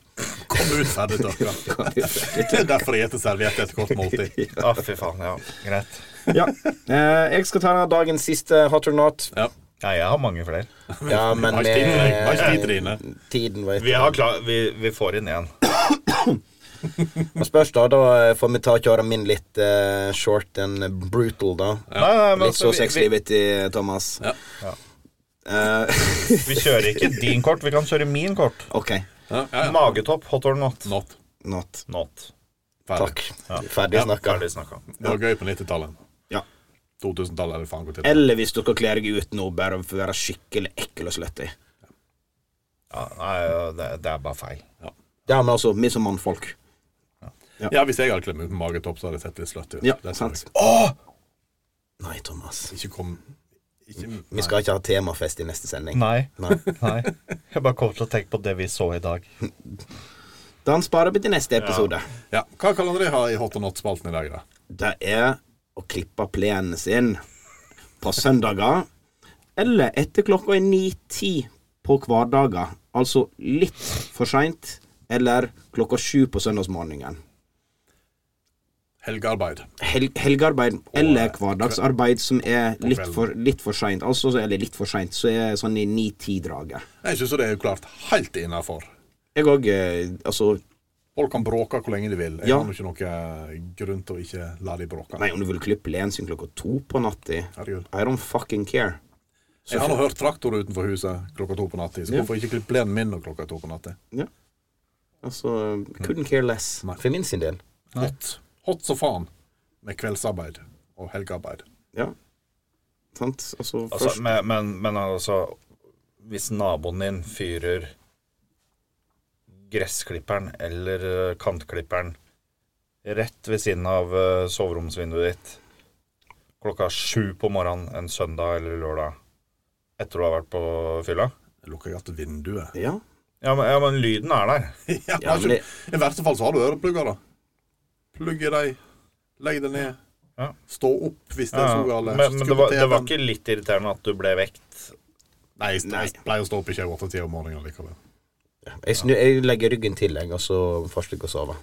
C: Kom ut ferdig tørka. Det er derfor jeg spiser serviett etter kort måltid.
G: Å,
D: Ah,
G: fy faen. Ja.
D: Greit.
B: Ja. Eh, jeg skal ta dagens siste hot or not.
C: Ja.
D: Nei, jeg har mange flere.
B: Ja, men
C: Har ikke tid til deg. Har ikke tid til
B: eh,
C: dine.
B: Tiden vet
G: Vi, har klar, vi, vi får inn én.
B: Det spørs, da. Da eh, får vi ta og kjøre min litt eh, short and brutal, da.
D: Nei, nei, men
B: Litt
D: altså,
B: så
D: vi- vi-
B: sexlivet til Thomas.
C: Ja.
B: Eh,
D: Vi kjører ikke din kort, vi kan kjøre min kort.
B: OK.
C: Ja, ja, ja.
D: Magetopp, hot or not?
C: Not.
B: Not.
D: Not.
C: Ferdig.
B: Takk. Ferdig snakka.
D: Ferdig snakka.
C: Det var gøy på 90-tallet.
B: Ja.
C: 2000-tallet eller faen hvor tid.
B: Eller hvis dere kler deg ut nå, bare for å være skikkelig ekkel og slutty.
D: Ja, nei, det, det er bare feil.
B: Ja, men altså, vi som mannfolk.
C: Ja, hvis jeg hadde kledd meg ut med magetopp, så hadde jeg sett litt sløtt ut.
B: Ja,
C: Det tror
B: sant.
C: jeg.
B: Nei, Thomas.
C: Ikke kom ikke,
B: Mm, Vi skal ikke ha temafest i neste sending.
D: Nei.
B: Nei.
D: nei. Jeg bare kom til å tenke på det vi så i dag.
B: Den sparer vi til neste episode.
C: Ja. Hva kan André ha i Hot or Not-spalten i dag, da?
B: Det er å klippe plenen sin på søndager eller etter klokka er 9-10 på hverdager. Altså litt for seint eller klokka sju på søndagsmorgenen.
C: Helgearbeid.
B: Hel helgearbeid eller hverdagsarbeid som er litt
C: kvelden.
B: for, litt for seint. Altså, eller litt for seint, så er sånn i 9-10-draget.
C: Jeg syns det er jo klart helt innafor.
B: Jeg òg eh, Altså,
C: Folk kan bråke hvor lenge de vil. Jeg
B: Ja.
C: har jo ikke noe grunn til å ikke la de bråke.
B: nei, om du vil klippe plenen sin klokka to på natta,
C: Herregud.
B: I don't fucking care.
C: Jeg har nå hørt traktorer utenfor huset klokka to på natta, så
B: Ja.
C: hvorfor ikke klippe plenen min når klokka er to på natta?
B: Altså, couldn't care less.
C: Nei.
B: For min sin del.
C: Hot. Hot som faen med kveldsarbeid og helgearbeid.
B: Ja. Sant? Altså,
D: Altså,
B: først
D: men, men, men altså Hvis naboen din fyrer gressklipperen eller eh, kantklipperen rett ved siden av eh, soveromsvinduet ditt klokka sju på morgenen en søndag eller lørdag etter du har vært på fylla
C: Jeg lukker jeg igjen vinduet.
B: Ja.
D: ja men, ja, men lyden er der.
C: ja,
B: Ja, men
C: ikke- I verste fall så har du øreplugger, da. Plugg i dem, legg det ned.
D: Ja.
C: Stå opp hvis det er
D: Ja,
C: så galt.
D: men men det, var, det var ikke litt irriterende at du ble vekt?
C: Nei, jeg st- jeg pleier å stå opp ikke åtte-ti om morgenen likevel.
B: Jeg, snu, jeg legger ryggen til, jeg, og så først jeg å sove.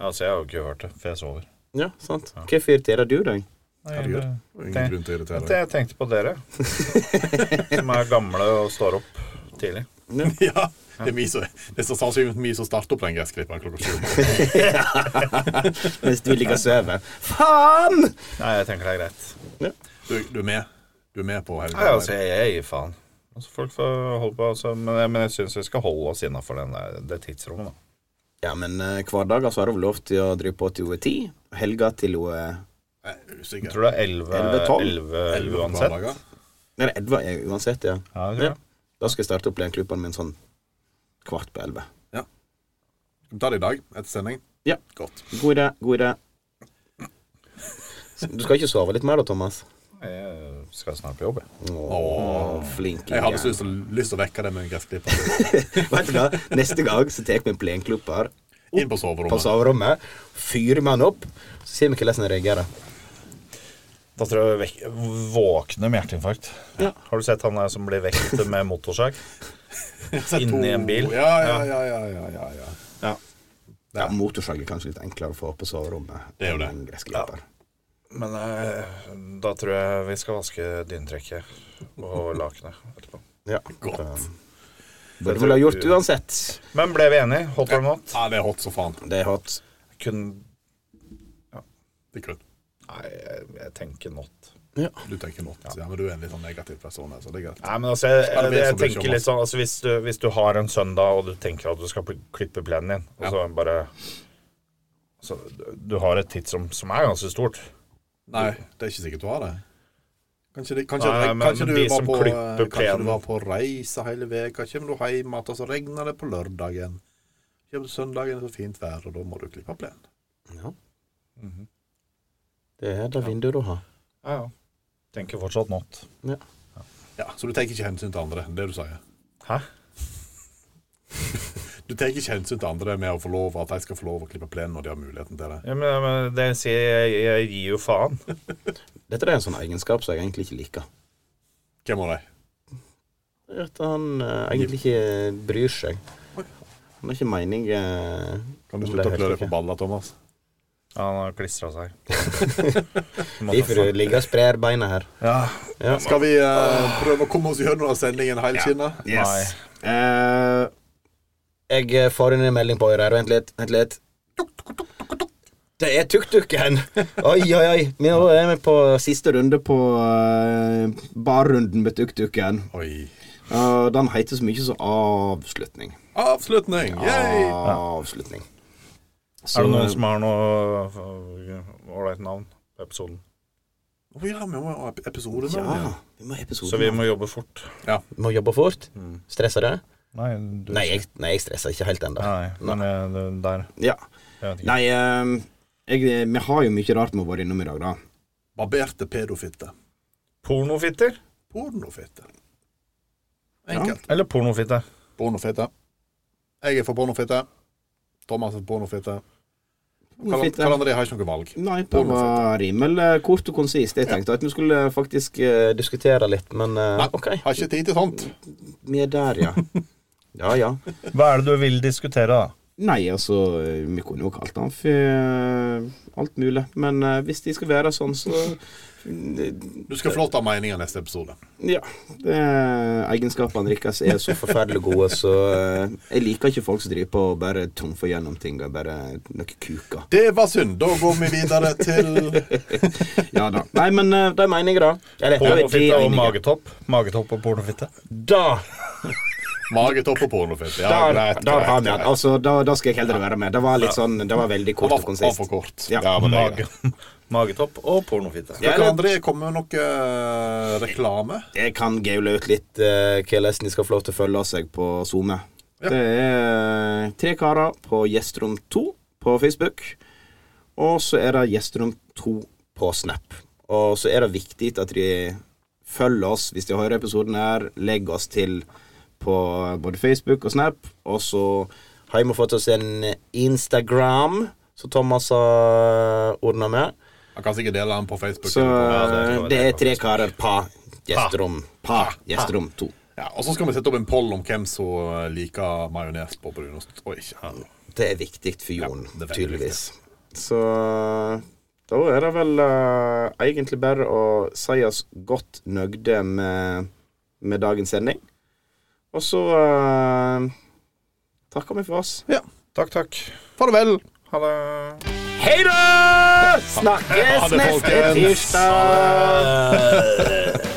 D: Altså, jeg har jo ikke hørt det, for jeg sover.
B: Ja, sant. Hvorfor irriterer du deg?
D: Nei,
C: Herregud.
D: det-
C: Det er Ingen grunn til å irritere
D: det- Jeg tenkte på dere, som er gamle og står opp tidlig.
C: deg. ja, det er mye som- det er så sannsynligvis mye som starter opp den gressklipperen klokka sju.
B: Mens du ligger og sover. Faen!
D: Nei, jeg tenker det er greit.
C: Du, du er med? Du er med på helgen?
D: Nei, altså, jeg, jeg gir faen. Altså, folk får holde på, altså, men, jeg- men jeg syns vi skal holde oss innafor det tidsrommet, da.
B: Ja, men eh, hverdager så har hun lov til å drive på til hun er ti. Helga til E- hun er
C: Nei,
D: Jeg
C: usikker.
D: tror det er 11,
B: 11, 12.
D: 11,
C: Elleve på
D: uansett.
C: hverdager.
B: Nei, Edvard er uansett, ja.
D: Ja, jeg tror det.
B: Da skal jeg starte opp lenklubben min sånn kvart på elleve.
C: Skal vi ta det i dag, etter sending?
B: Ja.
C: Godt.
B: God idé, god idé. Du skal ikke sove litt mer da, Thomas?
D: Jeg skal snart på jobb, jeg.
B: Åh, flink.
C: Jeg hadde
B: jævel.
C: så lyst til, lyst til å vekke deg med en gressklipper.
B: Vet du hva? Neste gang så tar vi en plenklipper
C: Inn på
B: på
C: soverommet.
B: soverommet, fyrer vi den opp, så ser vi hvordan den reagerer.
D: Da tror jeg vek våkne med hjerteinfarkt.
B: Ja.
D: Har du sett han der som blir vekt med motorsag? Inni en bil.
C: Ja, ja, ja, ja, ja, ja, ja.
B: Ja, Motorsag er kanskje litt enklere å få på soverommet.
C: Det er jo
B: enn
C: det.
B: en gressklipper.
D: Men eh, da tror jeg vi skal vaske dyntrekket og lakenet etterpå.
B: Ja.
C: Godt.
B: Burde vel ha gjort uansett.
D: Men ble vi enige? Hot or not?
C: Ja, det er hot som faen.
B: Det er hot.
D: Kun
C: Det er kun.
D: Nei, jeg, jeg tenker not.
C: Du tenker not. Ja, men du er en litt sånn negativ person, her, så det er greit.
D: Nei, men altså, jeg,
C: Skal det
D: jeg,
C: bli
D: jeg
C: som blir
D: tenker litt sånn altså, hvis, du, hvis du har en søndag og du tenker at du skal pl- klippe plenen din, og så bare altså, du- Du har et tidsrom som er ganske stort.
C: Nei, det er ikke sikkert du har det. Kanskje, det, kanskje,
D: Nei, men
C: kanskje, du,
D: de
C: var
D: som
C: på, eh,
D: klipper
C: kanskje du
D: plenen.
C: var på reise hele veka, kommer du hjem igjen, og så regner det på lørdagen. Kommer du søndagen, så fint vær, og da må du klippe plenen.
B: Ja.
C: Mhm.
B: Det er det vinduet du har.
D: Ja, ja. Tenker fortsatt not.
C: Ja, så du tar ikke hensyn til andre, det er det du sier.
D: Hæ?
C: Du tar ikke hensyn til andre med å få lov, at de skal få lov å klippe plenen når de har muligheten til det.
D: Ja, men, ja, men det sier jeg, jeg gir jo faen.
B: Dette er en sånn egenskap som jeg egentlig ikke liker.
C: Hvem av de?
B: Det er At han eh, egentlig ikke bryr seg. Han har ikke mening eh,
C: Kan du
B: om
C: slutte å
B: helt
C: klø deg
B: ikke.
C: på balla, Thomas?
E: Ja, han har klistra seg.
B: Derfor du ligger og sprer beina her.
E: Ja.
B: Ja.
C: Skal vi eh, prøve å komme oss gjennom sendingen helskinna?
B: Yes. Eh, jeg eh, får inn en melding på øret her. Vent litt. Vent litt. Det er tuk-tuken! Oi, oi, oi. Vi er med på siste runde på eh, barrunden med tuk-tuken.
C: Oi.
B: Eh, den heter så mye som avslutning.
C: Avslutning! Yay!
B: Avslutning. Så,
E: Er det noen som har noe øh, ålreit navn på episoden?
C: Å ja, vi må ha episode nå.
B: Ja. Vi må ha episoden.
E: Så vi Mm. må jobbe fort.
B: Må jobbe fort. Stresser du?
E: Nei, du
B: Nei, jeg, nei, jeg stresser ikke helt ennå.
E: Nei, men eh, det- der
B: Ja.
E: Jeg vet ikke.
B: Nei, eh, jeg, vi har jo mye rart vi har vært innom i dag, da.
C: Barberte pedofitte.
E: Pornofitter?
C: Pornofitte. Enkelt.
E: Eller pornofitte?
C: Pornofitte. Jeg er for pornofitte. Thomas er for pornofitte. Karl
B: Fitte.
C: Karl André har ikke noe valg.
B: eh, Nei, det var rimelig kort og konsist. Jeg tenkte at vi skulle faktisk eh, diskutere litt, men eh,
C: Nei.
B: OK.
C: Har ikke tid til sånt.
B: Vi er der, ja. Ja, ja.
E: Hva er det du vil diskutere, da?
B: Nei, altså, eh, vi kunne jo kalt han for eh, alt mulig. Men eh, hvis de skal være sånn, så
C: Du skal få lov til å ha meninger neste episode.
B: Ja. Det, egenskapene deres er så forferdelig gode, så eh, jeg liker ikke folk som driver på og bare trumfer gjennom ting og bare eh, noe kuker.
C: Det var synd. Da går vi videre til
B: Ja da. Nei, men eh, de er enige, da. Eller, ja, de
E: Pornofitte
B: er
E: og
B: enige.
E: magetopp? Magetopp og pornofitte?
B: Da
C: magetopp og pornofitte. Ja,
B: Der,
C: greit.
B: der har
C: greit,
B: vi den.
C: greit.
B: Altså, da, da skal jeg heller være med. Det var litt sånn, det var veldig
C: Han
B: kort
C: var
B: og
C: for, var
B: konsist.
C: for kort.
B: Ja.
C: men det er greit.
E: Mage, magetopp og pornofitte.
B: Ja,
C: Skal
B: eller-
C: André komme med noe eh, reklame?
B: Jeg kan gaule ut litt eh, hvordan de skal få lov til å følge seg på SoMe. Det er tre karer på Gjesterom 2 på Facebook. Og så er det Gjesterom 2 på Snap. Og så er det viktig at de følger oss hvis de hører episoden her. Legg oss til på både Facebook og Snap. Og så har vi fått oss en Instagram, som Thomas har ordna med.
C: Han kan sikkert dele den på Facebook.
B: Så eh,
E: Ja, det
B: det
E: er
B: er tre karer pa gjesterom. Pa gjesterom to.
C: Ja, og så skal vi sette opp en poll om hvem som eh, liker majones på brunost og ikke.
B: Det er viktig for Jon,
C: Ja, det er veldig
B: tydeligvis. Så da er det vel eh, egentlig bare å si oss godt nøgde med, med dagens sending. Og så eh, takker vi for oss.
E: Takk, takk.
C: Farvel!
E: Ha det.
B: Hei da! Snakkes neste tirsdag!